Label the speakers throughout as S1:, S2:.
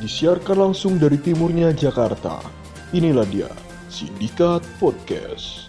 S1: Disiarkan langsung dari timurnya Jakarta. Inilah dia, Sindikat Podcast.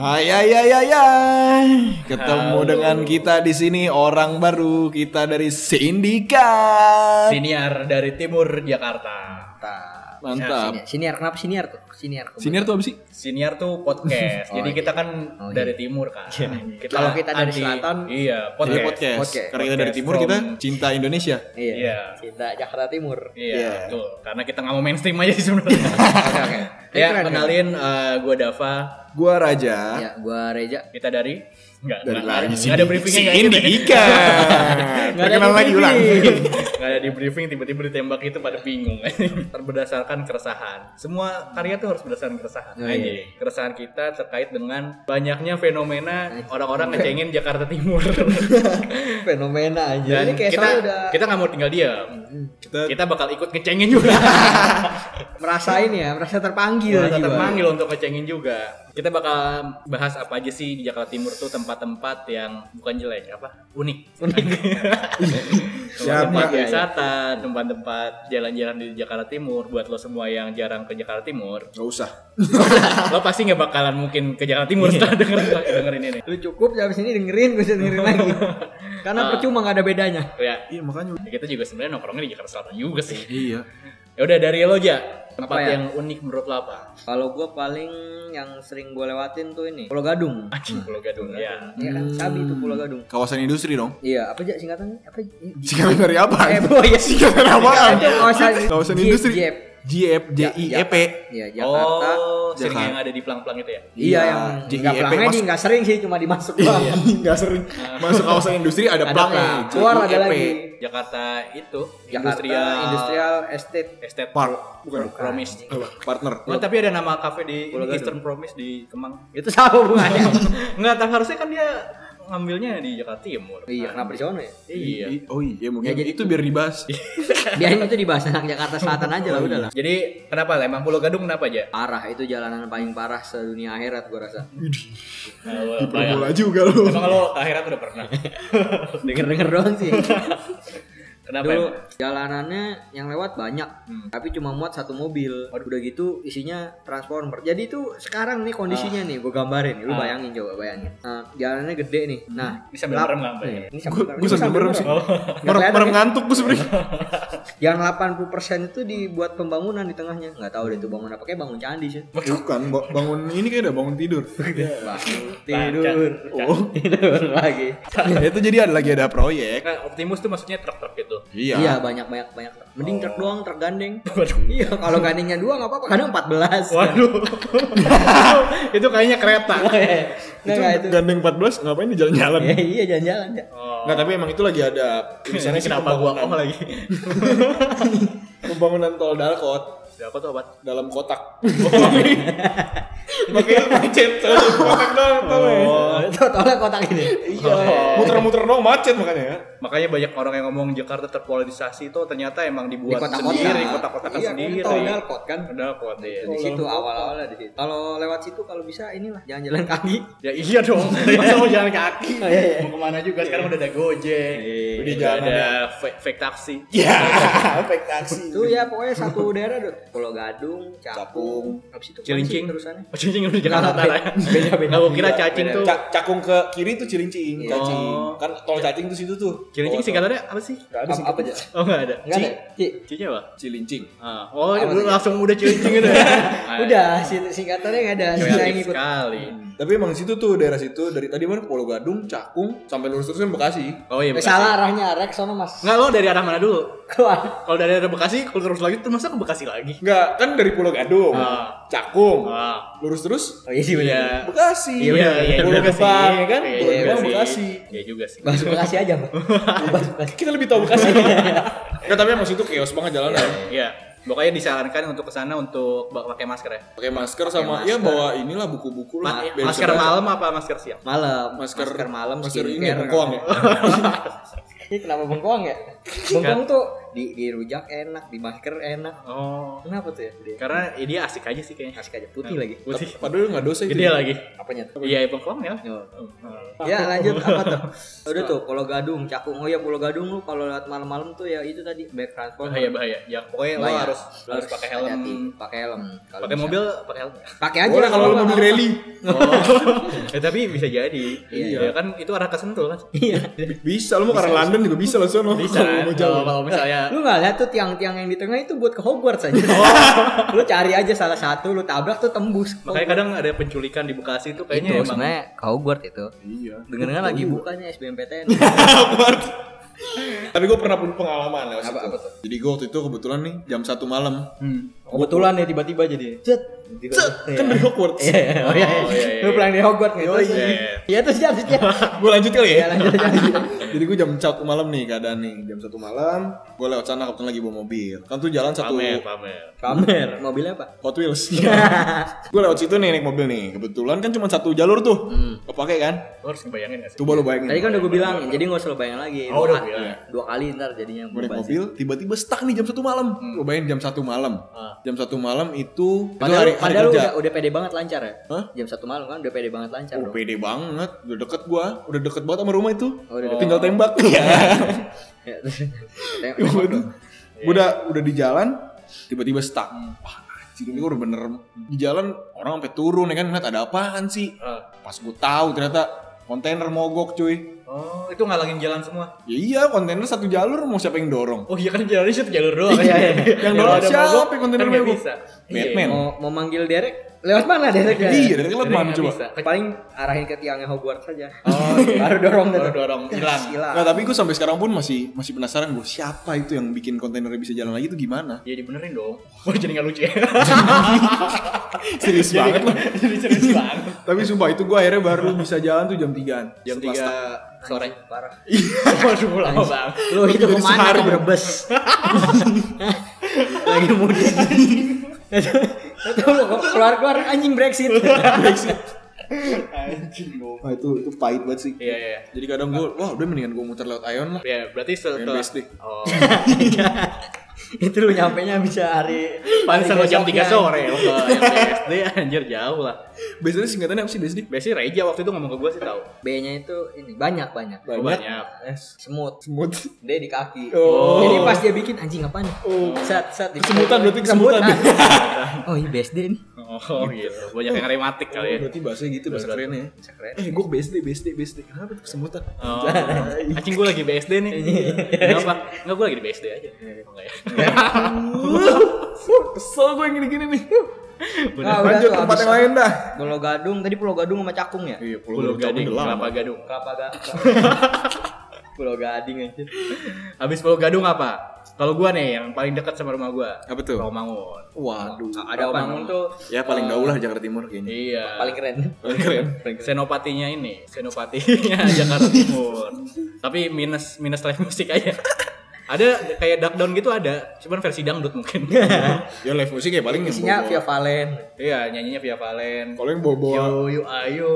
S2: Hai hai hai hai, hai. Ketemu dengan kita di sini orang baru kita dari
S3: Eh.
S2: Sindikat.
S4: Siniar dari timur Jakarta.
S2: Mantap.
S3: Siniar, siniar kenapa siniar tuh? Ah. Siniar.
S2: Senior tuh apa sih?
S4: Siniar tuh podcast. Jadi
S3: iya.
S4: kita kan
S3: Oh, iya.
S4: dari timur kan. Kita
S3: Kalau kita dari
S4: anti-
S3: selatan,
S4: iya,
S2: Podcast.
S4: podcast.
S2: podcast.
S3: Podcast.
S2: Karena kita dari
S4: Podcast
S2: timur
S4: from-
S2: kita cinta Indonesia.
S3: Iya.
S4: Iya.
S3: Cinta Jakarta Timur.
S4: Iya,
S2: Iya.
S4: betul. Karena kita nggak mau mainstream aja sih sebenarnya.
S3: Oke oke.
S4: ya,
S3: Iya, Keren,
S4: kenalin eh, gua Dava.
S2: Gua
S3: keren.
S2: Raja
S3: Ya, gua Reja.
S4: Kita dari Enggak,
S2: dari lagi
S4: Nggak ada briefingnya nggak ada.
S2: Sindikat.
S4: Nggak ada
S2: Iya, Perkenalan lagi ulang.
S4: Nggak ada di briefing tiba-tiba ditembak itu pada bingung Terberdasarkan keresahan Semua karya tuh harus berdasarkan keresahan
S3: Oh, iya.
S4: Anjing. Keresahan kita terkait dengan Banyaknya fenomena orang-orang ngecengin Jakarta Timur
S3: Fenomena aja.
S4: Dan
S3: Ini kayak
S4: kita
S3: saya udah
S4: kita nggak mau tinggal diam
S2: Kita
S4: Kita bakal ikut ngecengin juga
S3: merasain ya, merasa terpanggil.
S4: Kita
S3: jiwa.
S4: terpanggil untuk ngecengin juga Kita bakal bahas apa aja sih di Jakarta Timur tuh Tempat-tempat yang bukan jelek Apa? Unik tempat-tempat
S2: Siapa?
S4: wisata, tempat-tempat jalan-jalan di Jakarta Timur buat lo semua yang jarang ke Jakarta Timur.
S2: Gak usah.
S4: lo pasti nggak bakalan mungkin ke Jakarta Timur setelah denger dengerin ini.
S3: Lu cukup ya, abis ini dengerin, gue dengerin lagi. Karena percuma gak ada bedanya.
S4: Ya,
S2: Iya makanya.
S4: kita juga sebenarnya nongkrongnya di Jakarta Selatan juga sih.
S2: Iya.
S4: Ya udah dari lo aja tempat
S3: Apa ya?
S4: yang unik menurut lo apa?
S3: Kalau gua paling yang sering gue lewatin tuh ini Pulau Gadung.
S4: Anjing Pulau Gadung. Ya.
S3: Iya kan, sabi tuh Pulau Gadung.
S2: Kawasan industri dong.
S3: Iya, apa aja singkatannya? Apa?
S2: Singkatan dari apa?
S3: Eh, boy, ya.
S2: iya. Singkatan apaan?
S3: Itu kawasan-
S2: Kawasan
S3: Jeep,
S2: industri.
S3: Jeep.
S2: JIEP, JIEP.
S3: Iya, Jakarta.
S4: oh, sering
S2: Jakarta.
S4: yang ada di pelang-pelang itu ya?
S3: Iya,
S2: Iya,
S3: yang
S2: JIEP,
S3: nggak pelangnya
S2: masuk-
S3: nih, nggak sering sih, cuma dimasuk doang.
S2: Enggak sering. Masuk kawasan industri ada
S3: Ada
S2: plang.
S3: plang. Keluar ada
S2: JIEP.
S3: lagi.
S4: Jakarta itu
S3: Jakarta
S4: industrial,
S3: E Industrial Estate.
S4: estate
S2: Park.
S4: bukan promise.
S2: Apa? Partner.
S4: Oh, tapi ada nama kafe di
S3: Pulau Gadung.
S4: Eastern Promise di Kemang.
S3: Itu sama hubungannya.
S4: Enggak, tapi harusnya kan dia ngambilnya di Jakarta Timur.
S3: iya, kenapa di sono ya?
S4: Iya.
S2: I- Oh iya mungkin
S3: Ya, jadi-
S2: itu biar dibahas.
S3: Biarin itu dibahas anak Jakarta Selatan aja lah, udah lah.
S4: Jadi kenapa lah emang Pulau Gadung kenapa aja?
S3: Parah itu jalanan paling parah sedunia akhirat gua rasa.
S4: Di
S2: Bola juga lo.
S4: Emang lo ke akhirat udah pernah.
S3: Denger-denger doang sih.
S4: Kenapa? ya?
S3: Dulu
S4: emang?
S3: jalanannya yang lewat banyak,
S4: Hmm.
S3: tapi cuma muat satu mobil. Udah gitu isinya transformer. Jadi itu sekarang nih kondisinya nih, gua gambarin. Lu
S4: Ah.
S3: bayangin coba bayangin. Nah, jalanannya gede nih. Nah,
S4: Ini sambil merem nggak, Mbak?
S3: Ini
S2: Gue
S3: sambil-
S2: gue
S3: ini
S2: sambil merem sih. kan? Merem
S3: kelihatan
S2: merem
S4: kan?
S3: ya?
S2: ngantuk gue sebenernya.
S3: Yang 80% itu dibuat pembangunan di tengahnya. Nggak tahu deh itu bangun apa kayak bangun candi sih.
S2: Bukan ba- bangun ini kayak udah bangun tidur.
S3: Bangun
S4: Baca,
S3: tidur.
S4: baca.
S2: Oh.
S3: Tidur lagi.
S2: Ya, itu jadi ada lagi ada proyek.
S4: Kan Optimus tuh maksudnya truk-truk gitu.
S3: Iya,
S2: Iya.
S3: banyak banyak banyak. Mending truk
S2: Oh.
S3: doang, truk gandeng.
S4: Waduh.
S3: iya, kalau gandengnya dua nggak apa-apa, kadang 14.
S4: Waduh. itu kayaknya kereta.
S3: Nggak, nggak itu.
S2: Itu gandeng 14 ngapain di jalan-jalan?
S3: Ya, iya jalan-jalan ya.
S4: Oh.
S2: Nah tapi emang itu lagi ada
S4: Di sana
S2: tulisannya sih
S4: kenapa gua koma
S2: pembangunan-
S4: lagi?
S2: Pembangunan tol Dalkot
S4: Siapa tuh obat?
S2: dalam kotak.
S4: Iya.
S2: Makanya macet dalam
S4: Oh.
S2: kotak doang. tau ya.
S3: Itu tolak kotak ini.
S2: Iya. Muter-muter doang macet makanya. ya.
S4: Makanya banyak orang yang ngomong Jakarta terpolarisasi itu ternyata emang dibuat
S3: kota-kota.
S4: sendiri, kota-kota
S3: Iya,
S4: sendiri.
S3: kan tol Dalkot kan?
S4: Tol Dalkot, iya.
S3: Di situ awal-awalnya di situ. Kalau lewat situ kalau bisa inilah jalan-jalan kaki.
S4: Ya iya dong. Masa mau jalan kaki?
S3: Oh, iya, iya.
S4: Mau kemana juga? Sekarang udah ada Gojek.
S2: Iya, Udah
S4: Iya, Udah
S2: jalan
S4: ada fake, fake taksi.
S2: Ya, efek taksi.
S3: Itu ya pokoknya satu daerah tuh. Pulau Gadung,
S2: Capung.
S3: Capung, habis itu
S4: Cilincing.
S3: terusannya.
S4: Oh, Cilincing udah Jakarta
S3: Nggak,
S4: Utara. Beda beda. Gak kira cacing
S3: Beda.
S4: tuh.
S2: Iya. Ca- cakung ke kiri tuh cilincing,
S3: Iya.
S2: cacing.
S4: Oh.
S2: Kan tol cacing tuh situ tuh. Oh,
S4: Cilincing singkatannya apa sih?
S2: Gak ada
S3: Apa, apa aja?
S4: Oh enggak ada.
S3: Enggak ada. Ci.
S4: Cici apa?
S2: Cilincing.
S4: Ah, oh,
S3: Apa
S4: lu
S3: tuh?
S4: langsung udah cilincing gitu.
S3: Udah, sing- singkatannya nggak ada. Saya
S4: Kreatif
S3: ngikut. Hmm.
S4: sekali.
S2: Tapi emang situ tuh daerah situ dari tadi mana Pulau Gadung, Cakung sampai lurus terusan Bekasi.
S4: Oh iya.
S3: Eh,
S4: Bekasi.
S3: salah arahnya arek sono mas.
S4: Enggak lo dari arah mana dulu?
S3: Keluar.
S4: Kalau dari arah Bekasi, kalau terus lagi terus masa ke Bekasi lagi?
S2: Enggak, kan dari Pulau Gadung,
S4: Ah.
S2: Cakung,
S4: Ah.
S2: lurus terus
S3: Oh iya sih benar.
S4: Iya.
S2: Bekasi.
S4: Iya, iya,
S2: Pulau
S4: Bekasi.
S2: Gebang ya kan?
S4: Iya,
S2: Pulau
S4: iya,
S2: Gebang Bekasi.
S4: Iya juga sih.
S3: Bahas Bekasi aja, Bang. Bahas Bekasi.
S2: Kita lebih tahu Bekasi. Enggak, tapi emang situ chaos banget jalanan.
S4: Iya. Pokoknya disarankan untuk kesana untuk bak- pakai masker ya.
S2: pakai masker sama ya bawa inilah buku-buku
S4: Ma-
S3: Nah,
S2: lah biar
S4: masker
S2: bisa baca.
S4: malam apa masker siang?
S3: Malam.
S2: masker,
S3: malam
S2: masker ini
S3: skincare.
S2: bengkoang ya
S3: Ini kenapa bengkoang ya? Bengkoang tuh di di rujak enak, di masker enak.
S4: Oh.
S3: Kenapa tuh ya? Dia
S4: Karena Nah. eh, dia asik aja sih kayaknya.
S3: kasih aja putih lagi.
S4: Putih.
S2: padahal nggak dosa itu
S4: Gede lagi.
S3: Apanya tuh?
S4: Iya, bengkong ya.
S3: Yo.
S4: Hmm.
S3: Ya lanjut apa tuh? Udah tuh Pulau Gadung, Cakung. Oh ya Pulau Gadung lu kalau lewat malam-malam tuh ya itu tadi back transport.
S4: Bahaya bahaya. Ya pokoknya lo
S3: Bahaya.
S4: harus lo harus pakai helm.
S3: hati-hati, pakai helm. Kalau
S4: Pakai
S3: bisa.
S4: mobil pakai helm.
S3: Pakai aja
S2: boleh kalau lu mau beli rally
S4: ya, tapi bisa jadi.
S3: Iya.
S4: Ya kan itu arah ke Sentul kan.
S2: bisa lu mau ke arah London juga bisa langsung lu
S4: Bisa.
S2: kalau mau
S4: Kalau
S2: jalan
S4: kalau misalnya
S3: Lu nggak lihat tuh tiang-tiang yang di tengah itu buat ke Hogwarts aja.
S4: Oh.
S3: lu cari aja salah satu, lu tabrak tuh tembus.
S4: makanya kadang ada penculikan di Bekasi itu
S3: itu
S4: kayaknya emang
S3: sebenarnya ke Hogwarts itu.
S2: iya
S3: Dengar-dengar lagi bukanya SBMPTN.
S2: tapi gue pernah punya pengalaman lewat
S3: Apa-
S2: situ.
S3: apa tuh?
S2: jadi gue waktu itu kebetulan nih jam satu malam
S3: Kebetulan ya tiba-tiba jadi. Cet.
S2: kan dari Hogwarts
S3: Iya, iya, oh, iya,
S4: Oh, iya, iya.
S3: Lu pulang dari Hogwarts gitu.
S2: Yoi.
S3: Iya, terus dia habis dia.
S2: gue lanjut kali ya
S3: Ya lanjut aja.
S2: jadi gue jam satu malam nih keadaan nih jam satu malam gue lewat sana kebetulan lagi bawa mobil kan tuh jalan satu
S4: pamer pamer.
S3: Pamer. Mobilnya apa?
S2: Hot Wheels gue Iya. lewat situ nih naik mobil nih kebetulan kan cuma satu jalur tuh kepake kan
S4: Lo harus ngebayangin gak sih?
S2: coba lu bayangin
S3: Hmm. Tadi kan udah gue bilangin, jadi nggak usah lo bayangin lagi.
S4: Oh, udah
S3: Dua-
S4: bilang.
S3: Dua kali ntar jadinya
S2: gue naik
S3: mubazir.
S2: mobil tiba-tiba stuck nih jam satu malam lu bayangin jam satu malam
S4: Ah.
S2: jam satu malam itu itu
S3: Hmm. Padahal,
S2: hari, hari
S3: padahal lu
S2: kerja
S3: udah, udah pede banget lancar ya?
S2: Hah?
S3: Jam satu malam kan udah pede banget lancar
S2: Oh,
S3: bro.
S2: pede banget, udah deket gua, udah deket banget sama rumah itu.
S3: Oh, udah deket.
S2: Tinggal tembak. Ya.
S3: Ya, terus- tengok-
S2: Gua udah-
S3: tengok lu.
S2: gua udah
S3: Iya.
S2: udah di jalan, tiba-tiba stuck.
S3: Hmm.
S2: Wah, anjir ini gua udah bener di jalan orang sampai turun ya kan ngeliat ada apaan sih.
S4: Ah.
S2: Pas gua tahu ternyata kontainer mogok cuy.
S4: Oh, itu ngalangin jalan semua.
S2: Ya iya, kontainer satu jalur mau siapa yang dorong?
S4: Oh iya kan jalannya satu jalur doang.
S3: Iya, iya.
S2: Yang
S4: Kalau
S2: dorong
S4: ada
S2: siapa
S4: mogok,
S2: yang kontainer
S4: kan nggak
S2: mogok?
S4: bisa.
S2: Batman.
S3: mau, mau manggil Derek? Lewat mana Derek? ya?
S2: Iya, dari
S4: Jadi
S2: lewat mana
S4: nggak
S2: coba?
S4: bisa.
S3: Paling arahin ke tiangnya Hogwarts saja.
S4: Oh,
S3: iya.
S2: iya.
S3: Baru dorong deh.
S4: baru dorong hilang.
S3: Gila.
S2: Nah, tapi gua sampai sekarang pun masih masih penasaran gua siapa itu yang bikin kontainernya bisa jalan lagi itu gimana?
S4: Iya dibenerin dong. Wah jadi nggak lucu ya.
S2: Serius
S4: Jadi-
S2: banget lah.
S4: Jadi serius banget.
S2: Tapi sumpah itu gue akhirnya baru bisa jalan tuh jam 3an
S4: Jam 3 sore.
S3: Parah.
S4: Waduh lama banget.
S3: Lu itu
S2: Lebih dari
S3: kemana
S2: sehari,
S3: ke
S2: bro.
S3: Brebes? Lagi mudik. Tahu lu keluar-keluar anjing Brexit.
S4: Anjing dong.
S2: Wah itu itu pahit banget sih
S4: Iya iya.
S2: Jadi kadang gue Wah udah mendingan gue muter lewat Ion lah
S4: Ya berarti setelah.
S2: Besti.
S4: Oh.
S3: itu lu nyampe nya bisa hari
S4: Pantes
S3: hari
S4: lo jam 3
S3: besoknya.
S4: sore lo ke SD anjir jauh lah.
S2: Biasanya singkatannya apa sih Desdi?
S4: Besi Reja waktu itu ngomong ke gue sih tahu.
S3: B-nya itu ini banyak banyak.
S4: Gua Banyak.
S3: Semut.
S2: Semut
S3: D di kaki.
S2: Oh.
S3: Jadi pas dia bikin anjing apaan ya? nih? Sat sat. di-
S2: Kesemutan, berarti kesemutan.
S3: Kesemutan. oh, iya BSD nih.
S4: Oh gitu. Banyak yang rematik kali ya.
S2: Berarti bahasanya gitu bahasa
S4: Berat.
S2: kerennya ya
S3: Bisa keren.
S2: Eh gue BSD BSD BSD Kenapa tuh kesemutan?
S4: Oh, anjing gue lagi BSD nih. Kenapa? Enggak gue lagi di BSD aja. Enggak ya.
S2: Kesel gue yang gini-gini nih
S3: Ah, udah
S2: Lanjut
S3: tuh,
S2: tempat
S3: abis-
S2: yang lain dah
S3: Pulau Gadung tadi Pulau Gadung sama Cakung ya?
S2: Iya
S4: Pulau Gading, Kelapa Gadung.
S3: Kelapa Gadung. Pulau Gading anjir.
S4: Habis Pulau Gadung apa? Kalau gua nih yang paling dekat sama rumah gua.
S2: Apa tuh?
S4: Romangun.
S2: Waduh
S3: Ada Omangun tuh Eh,
S2: Ya paling gaul lah Jakarta Timur kayaknya
S4: Iya.
S3: paling keren.
S2: Keren
S4: senopatinya ini, senopatinya Jakarta Timur. Tapi minus minus live musik aja. Ada kayak duck down gitu ada, cuman versi dangdut mungkin.
S2: Ya live musik ya paling yang
S3: Isinya
S2: bawa-
S3: Via Valen.
S4: iya, nyanyinya Via Valen.
S2: Kalau yang bawa-bawa
S4: Yo yo ayo.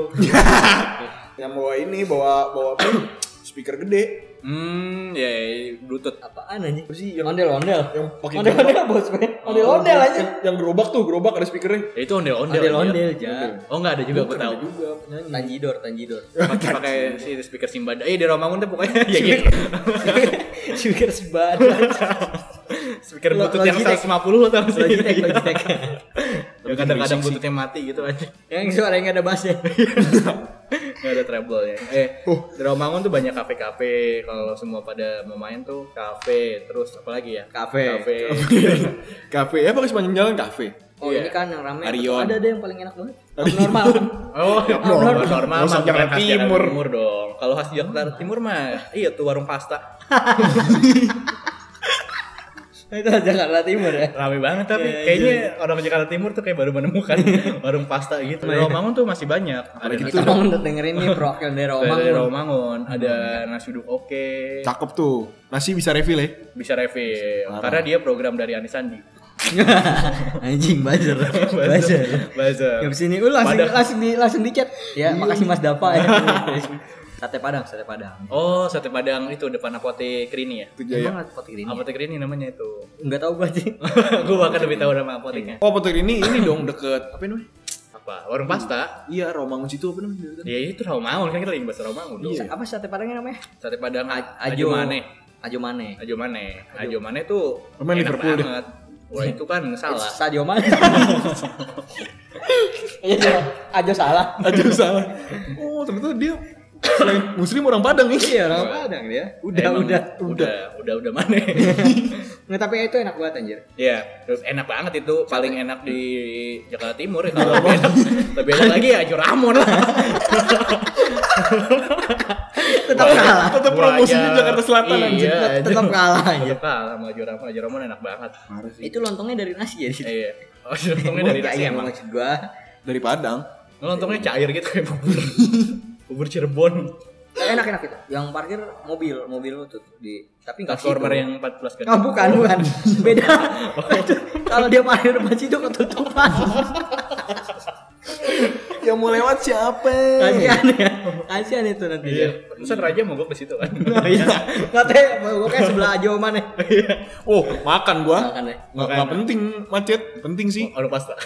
S2: Yang bawa ini bawa bawa apa? speaker gede
S4: Hmm, ya ya, bluetooth.
S3: Apaan anjing?
S2: sih
S3: Ondel ondel.
S2: yang pakai
S3: Ondel ondel bos men. Ondel ondel aja.
S2: Yang, yang gerobak tuh, gerobak ada speakernya.
S4: Ya, itu ondel-ondel. anjir.
S3: Ondel ondel aja.
S4: Oh, enggak ada juga gua tahu.
S2: Juga penyanyi.
S3: Tanjidor tanjidor.
S4: Pakai pakai si speaker Simbada. Eh, di Romangun tuh pokoknya
S3: Iya,
S4: ya gitu.
S3: Speaker sebadan.
S4: speaker
S3: Lo-
S4: bluetooth yang
S3: Logitech.
S4: 150 lo tau sih. Iya.
S3: Logitech Logitech.
S4: Ya, kadang-kadang bluetoothnya mati gitu aja.
S3: Yang suara yang nggak ada bassnya.
S4: Gak ada trouble ya. Eh, di Romangun tuh banyak kafe-kafe. Kalau semua pada mau main tuh kafe, terus apa lagi ya?
S3: Kafe.
S4: Kafe.
S2: Kafe, ya pakai sepanjang jalan kafe.
S3: Oh
S4: Iya.
S3: ini kan yang rame.
S2: Arion.
S3: Ada ada yang paling enak banget. Abnormal.
S4: Oh, normal,
S3: Abnormal.
S4: normal
S2: Nggak usah
S4: mah, bukan
S2: Jakarta
S4: khas Jakarta
S2: Timur.
S4: Timur dong. Kalau khas Jakarta Timur mah, iya tuh warung pasta.
S3: Itu Jakarta Timur ya.
S4: Rame banget tapi
S3: Iya,
S4: kayaknya orang Jakarta Timur tuh kayak baru menemukan warung pasta gitu. Di Romangun tuh masih banyak. Ada gitu.
S3: Kita mau dengerin nih perwakilan dari
S4: Dari
S3: Romangun.
S4: Romangun ada nasi uduk oke,
S2: Cakep tuh. Nasi bisa refill ya.
S4: bisa refill karena dia program dari Anis Sandi.
S3: Anjing buzzer. buzzer.
S4: Buzzer.
S3: Habis
S5: uh,
S3: ini lu langsung
S4: Padang.
S3: langsung di langsung di chat.
S5: Ya, makasih Mas Dapa ya. sate Padang, sate Padang.
S4: Oh, sate Padang itu depan apotek Rini ya?
S2: Itu jaya.
S5: Emang apotek ini?
S4: Apotek Rini namanya itu.
S5: Enggak tahu gua sih.
S4: Gue bahkan lebih tahu nama apoteknya.
S2: Oh, petir ini ini dong deket apa namanya?
S4: Apa? Warung pasta?
S2: Iya, Romangun situ apa namanya?
S4: Ya itu Rawamangun kan kita lagi bahas Rawamangun dong.
S3: Iya.
S5: Apa sate Padangnya namanya?
S4: Sate Padang
S5: A-
S4: Ajo Mane.
S5: Ajo Mane.
S4: Ajo Mane. Ajo Mane tuh
S2: Pemain
S4: enak
S2: Liverpool deh.
S4: banget. Wah, itu kan salah.
S5: Stadio Mane. Iya, Ajo salah.
S2: Aja salah. Oh, ternyata dia selain muslim orang Padang nih. Iya, orang Padang dia.
S3: Udah,
S4: Emang
S3: udah.
S4: udah, udah, udah Mane.
S5: Nggak, tapi itu enak banget anjir.
S4: Ya, terus enak banget itu paling enak di Jakarta Timur ya. Kalau lebih enak, lebih enak lagi ya Ajo Ramon lah.
S3: Tetap kalah.
S2: Tetap promosinya
S4: Buaya.
S2: Jakarta Selatan
S4: Iya,
S2: anjir.
S4: anjir.
S3: Tetap kalah anjir.
S4: Tetap kalah sama Ajo Ramon. Ajo Ramon enak banget.
S5: Itu lontongnya dari nasi ya di situ.
S4: Iya. Oh, lontongnya dari nasi
S5: Iya,
S4: emang.
S5: maksud gua.
S2: Dari Padang.
S4: Lontongnya cair gitu kayak bubur. bubur Cirebon.
S5: Eh, enak enak itu. Yang parkir mobil, mobil lutut di tapi nggak
S4: Transformer
S5: situ.
S4: yang 14 kan.
S3: Oh, bukan, bukan. Beda. Kalau dia parkir depan situ ketutupan.
S2: Yang mau lewat siapa?
S3: Kasihan ya. Kasihan itu nanti.
S4: Iya. Pesan Raja mogok di situ kan.
S3: Iya. Katanya mau gue kayak sebelah aja ya." mana.
S2: Oh, makan gua.
S5: Makan ya.
S2: Nggak, nggak penting macet, penting sih.
S4: Warung Oh, pasta.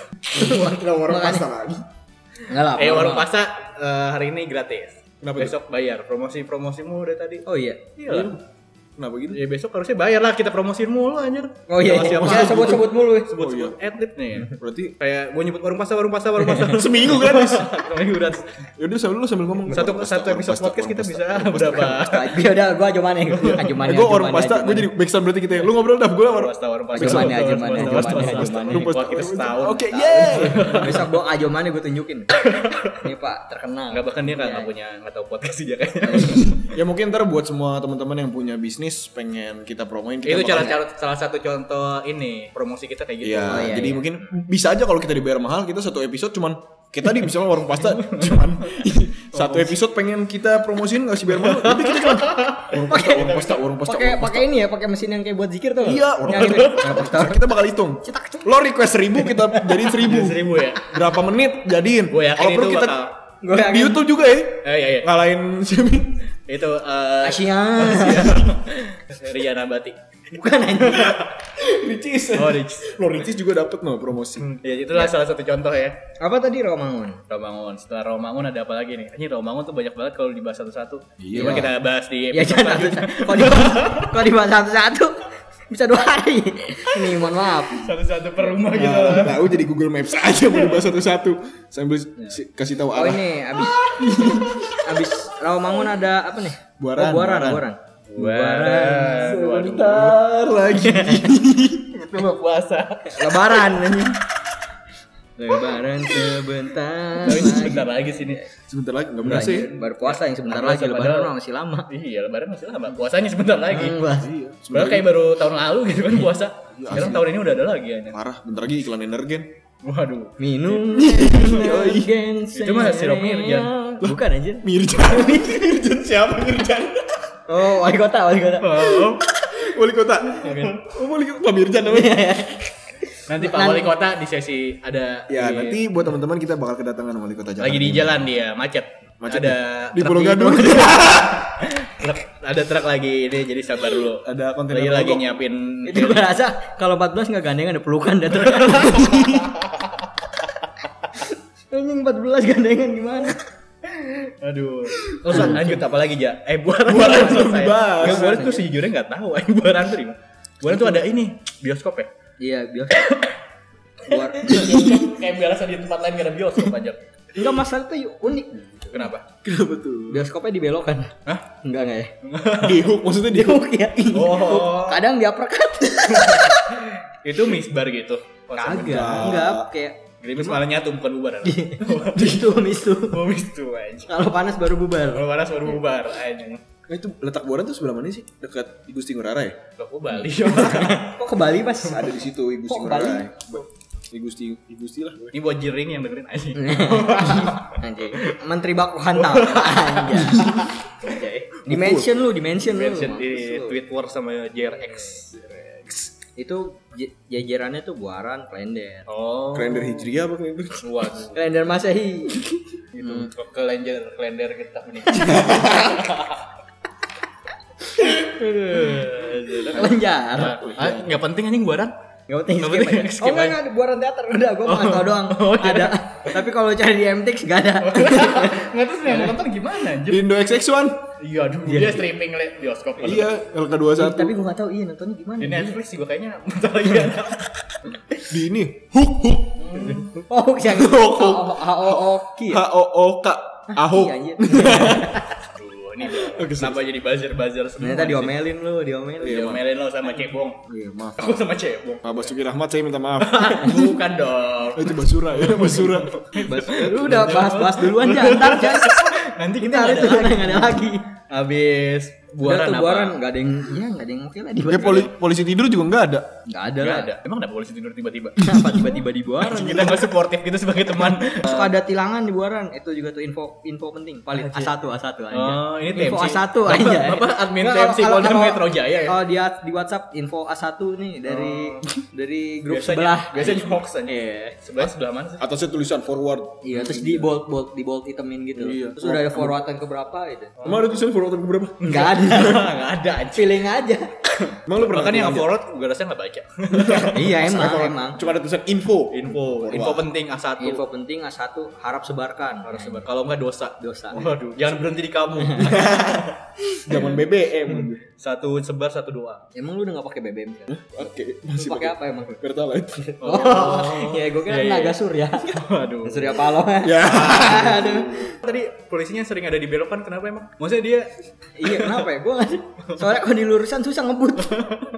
S3: Warung pasta lagi. ya. Enggak lah.
S4: eh warung
S3: apa-apa.
S4: pasta eh, hari ini gratis.
S2: Kenapa
S4: besok bayar. Promosi-promosimu udah tadi.
S5: Oh iya.
S4: Iya lah.
S2: Kenapa gitu?
S4: Ya besok harusnya bayar lah kita promosiin mulu anjir.
S5: Oh iya.
S4: Sama
S5: iya.
S4: siapa?
S5: Saya sebut-sebut mulu. ya.
S2: Oh, iya.
S4: Sebut-sebut atlet nih.
S2: Berarti
S4: Kayak gue nyebut warung pasta, warung pasta, warung pasta.
S2: seminggu gratis.
S4: Seminggu kan? gratis.
S2: Yaudah sambil lu sambil ngomong.
S4: Satu
S2: Warung pasta,
S4: satu
S2: warung
S4: episode
S2: pasta,
S4: podcast kita
S2: warung
S4: bisa
S2: pasta.
S4: berapa?
S3: Ya udah, gua aja mana. Aja mana.
S2: Eh, gue orang pasta, gue jadi backsound berarti kita ya. Lu ngobrol dah, gue orang
S4: Pasta, warung pasta.
S3: Aja mana, aja
S4: warung
S3: mana,
S4: pasta,
S2: Iya,
S4: warung pasta,
S3: aja mana, aja
S4: warung
S3: mana.
S4: pasta. Buat kita setahun.
S2: Oke, yeay.
S5: Besok gua ajo
S3: ya,
S5: mana gua tunjukin. Ini Pak terkenal.
S4: Enggak bahkan dia
S3: Iya.
S4: kan nggak punya nggak tahu podcast dia kan? kayaknya.
S2: Ya mungkin ntar buat semua teman-teman yang punya bisnis pengen kita promoin kita
S4: itu gitu.
S2: bakal-
S4: cara cara salah satu contoh ini promosi kita kayak gitu.
S2: Iya,
S5: Oh, iya,
S2: jadi
S5: iya.
S2: mungkin bisa aja kalau kita dibayar mahal, kita satu episode cuman kita di misalnya warung pasta cuman satu episode pengen kita promosiin nggak sih biar mahal tapi kita cuma warung pasta warung pasta warung pasta
S3: Pakai
S2: warung pasta.
S3: pakai ini ya, pakai mesin yang kayak buat zikir tuh.
S2: iya warung
S3: Yang
S2: pasta. kita bakal hitung lo request seribu kita jadiin seribu
S4: Seribu Oh, ya.
S2: berapa menit jadiin
S4: Gue yakin
S2: kalau perlu
S4: itu
S2: kita
S4: bakal.
S3: Gue
S2: di YouTube juga ya
S4: Eh iya iya.
S2: ngalahin Xiaomi
S4: Itu eh
S3: Kasihan.
S4: Ria Nabati.
S3: Bukan anjing.
S2: Ricis
S4: Oh, Rich.
S2: lo Ricis juga dapet no promosi
S4: Ya itulah salah satu contoh ya.
S5: Apa tadi Romangun?
S4: Romangun. Setelah Romangun ada apa lagi nih? Ini Romangun tuh banyak banget kalau dibahas satu-satu.
S2: Iya.
S4: Cuma kita bahas di
S3: Ya
S4: episode
S3: jangan satu
S4: selanjutnya.
S3: Kalau dibahas kalau dibahas satu-satu bisa dua hari. Ini mohon maaf.
S4: satu-satu per rumah gitu.
S2: Nah, tahu jadi Google Maps aja mau dibahas satu-satu sambil si- kasih tahu
S5: Oh
S2: arah.
S5: ini abis abis Rawamangun ada apa nih?
S2: Buaran,
S5: Oh, buaran,
S2: buaran.
S5: buaran.
S4: Buaran.
S2: Bentar lagi.
S4: Itu mah puasa.
S3: Lebaran anjing.
S5: Lebaran sebentar.
S4: Tapi sebentar lagi sini.
S2: Sebentar lagi nggak berasa ya.
S5: Baru puasa yang sebentar
S4: Nggak
S5: lagi
S4: berasa,
S5: Lebaran
S4: padahal.
S5: mah masih lama.
S4: Iya, lebaran masih lama. Puasanya sebentar lagi.
S3: Wah.
S4: Sebenarnya kayak baru tahun lalu gitu kan puasa.
S2: Iya,
S4: Sekarang tahun ini udah ada lagi ya.
S2: Parah, bentar lagi iklan energen.
S4: Waduh.
S3: Minum.
S4: Itu mah sirup Mirjan.
S3: Bukan anjir.
S2: Mirjan, Mirjan siapa Mirjan?
S3: Oh, wali kota, wali kota.
S4: Oh.
S2: Wali kota. Oh, wali kota Pak Mirjan namanya.
S4: Nanti Pak Wali Kota di sesi ada
S2: Nah. Ya
S4: di-
S2: nanti buat teman-teman kita bakal kedatangan wali kota Jakarta.
S4: Iya. lagi di jalan dia macet.
S2: Macet
S4: ada
S2: di
S4: truk
S2: Pulau Gadung.
S4: truk- ada truk lagi ini jadi sabar dulu.
S2: Ada kontainer
S4: lagi lagi
S2: mogok.
S4: nyiapin
S3: Itu gue rasa kalau 14 nggak gandengan ada pelukan dan Anjing 14 gandengan gimana?
S4: aduh. Terus Oh, lanjut apa lagi ja? Eh buaran buaran selesai.
S2: dibahas.
S4: Enggak buaran tuh sejujurnya enggak tahu eh buaran tuh di mana. Buaran tuh ada ini bioskop ya.
S5: Iya, biasa. Buar.
S4: Kayak biasa di tempat lain gak ada bioskop aja.
S3: Enggak masalah tuh unik.
S4: Kenapa?
S2: Kenapa tuh?
S3: Bioskopnya dibelokan.
S4: Hah?
S3: Enggak enggak ya?
S2: Di hook maksudnya di hook.
S3: Iya.
S4: Oh,
S3: Kadang diaperkat.
S4: itu misbar gitu.
S3: Kagak.
S5: Enggak, kayak
S4: Grimis malah nyatu bukan bubaran.
S3: Itu misu.
S4: Oh, mistu aja.
S3: Kalau panas baru bubar.
S4: Kalau panas baru bubar anjing.
S2: Nah, itu letak buaran tuh sebelah mana sih? Dekat Gusti Ngurah ya?
S4: Kok Bali.
S3: Kok ke Bali, Mas?
S2: Ada di situ Gusti Ngurah Rai. Gusti Gusti lah.
S4: Ini buat jering yang dengerin aja.
S5: anjing.
S3: Menteri Bakuhan tahu. Anjay. Dimension lu, dimension lu.
S4: Mention di tweet war sama JRX.
S5: itu je- jejerannya tuh buaran klender
S4: Oh.
S2: Kalender Hijriah apa kalender?
S4: Waduh.
S3: Kalender Masehi.
S4: Itu ke kalender kalender kita nih.
S3: Kelenjar.
S4: Ah, nggak penting anjing buaran.
S3: Gak penting
S4: Nggak
S3: skip
S4: penting,
S3: aja.
S4: skip
S3: Oh enggak
S4: aja.
S3: enggak di buaran teater udah gua mau tau doang.
S4: Oh, iya.
S3: Ada. Tapi kalau cari di MTX gak ada.
S4: Nggak terus yang nonton gimana anjir?
S2: Di Indo XX1.
S4: Iya aduh, dia streaming le bioskop.
S2: Iya, LK21.
S3: Tapi gua gak tahu iya nontonnya gimana.
S4: Di Netflix juga kayaknya bentar lagi ada.
S2: Di ini hook hook
S3: Oh, hoax yang Hoki.
S2: H O O K ahok.
S4: Aduh, ini kenapa jadi buzzer-buzzer semua?
S5: ternyata
S4: sih?
S5: diomelin lu diomelin
S4: Iya, Diomelin lo sama Cebong.
S2: Iya, maaf.
S4: Aku sama Cebong.
S2: Pak Basuki Rahmat saya minta maaf.
S4: Bukan dong.
S2: Oh, Itu Basura ya, Basura.
S3: Lu udah bahas-bahas duluan aja ntar jangan.
S4: Nanti
S3: Kita
S4: kita
S3: hari
S4: ada
S3: itu
S4: lagi.
S3: enggak ada lagi.
S4: Habis
S5: buaran
S4: buaran apa?
S5: buaran nggak ada yang
S3: Iya, enggak ada yang oke lah di
S2: Ya poli- polisi tidur juga enggak ada.
S5: nggak ada
S4: Nggak
S5: lah
S4: ada. Emang kenapa polisi tidur tiba-tiba?
S5: kenapa tiba-tiba di buaran
S4: kita nggak suportif gitu sebagai teman.
S3: Suka
S4: Eh.
S3: ada tilangan di buaran.
S5: itu juga tuh info info penting paling A1 A1 aja
S4: Oh, ini
S3: Info
S4: TMC.
S3: A1
S4: Bapak-
S3: aja.
S4: Bapak admin
S3: Nggak,
S4: TMC
S3: kalau-
S4: Polda
S3: kalau-
S4: Metro Jaya ya. Oh.
S5: kalau dia di WhatsApp info A1 nih dari dari grup
S4: Biasanya-
S5: sebelah
S4: Biasanya hoax aja. Sebelah sebelah mana sih?
S2: Atasnya tulisan forward.
S5: Iya, terus di bold bold di bold hitamin gitu.
S4: Iya.
S5: Terus udah ada forwardan ke berapa itu?
S2: Emang ada tulisan forward atau berapa?
S3: Enggak ada.
S4: Enggak Oh. ada anjir.
S3: Feeling aja.
S2: Emang lu pernah
S4: Bahkan yang
S2: lihat?
S4: forward gue rasa nggak ya. baca.
S3: Iya
S5: Emang
S3: emang.
S5: emang
S2: Cuma ada tulisan info.
S4: Info, info penting A1.
S5: info penting A1 harap sebarkan.
S4: Harus sebar. Kalau nggak dosa.
S5: Dosa.
S4: Waduh, jangan berhenti di kamu.
S2: Zaman BBM.
S4: satu sebar satu doa.
S5: Emang lu udah gak pakai BBM kan?
S2: Oke,
S5: Lu
S2: masih
S5: pakai
S2: pakai
S5: apa emang?
S2: Pertalite.
S3: Oh, ya gue kira
S4: Iya, iya.
S3: naga surya.
S5: ya.
S4: Waduh.
S5: Surya Paloh.
S2: Ya.
S3: Aduh.
S4: Tadi polisinya sering ada di belokan kenapa emang? Maksudnya dia
S3: Iya kenapa ya? Gue nggak Soalnya kalau di lurusan susah ngebut.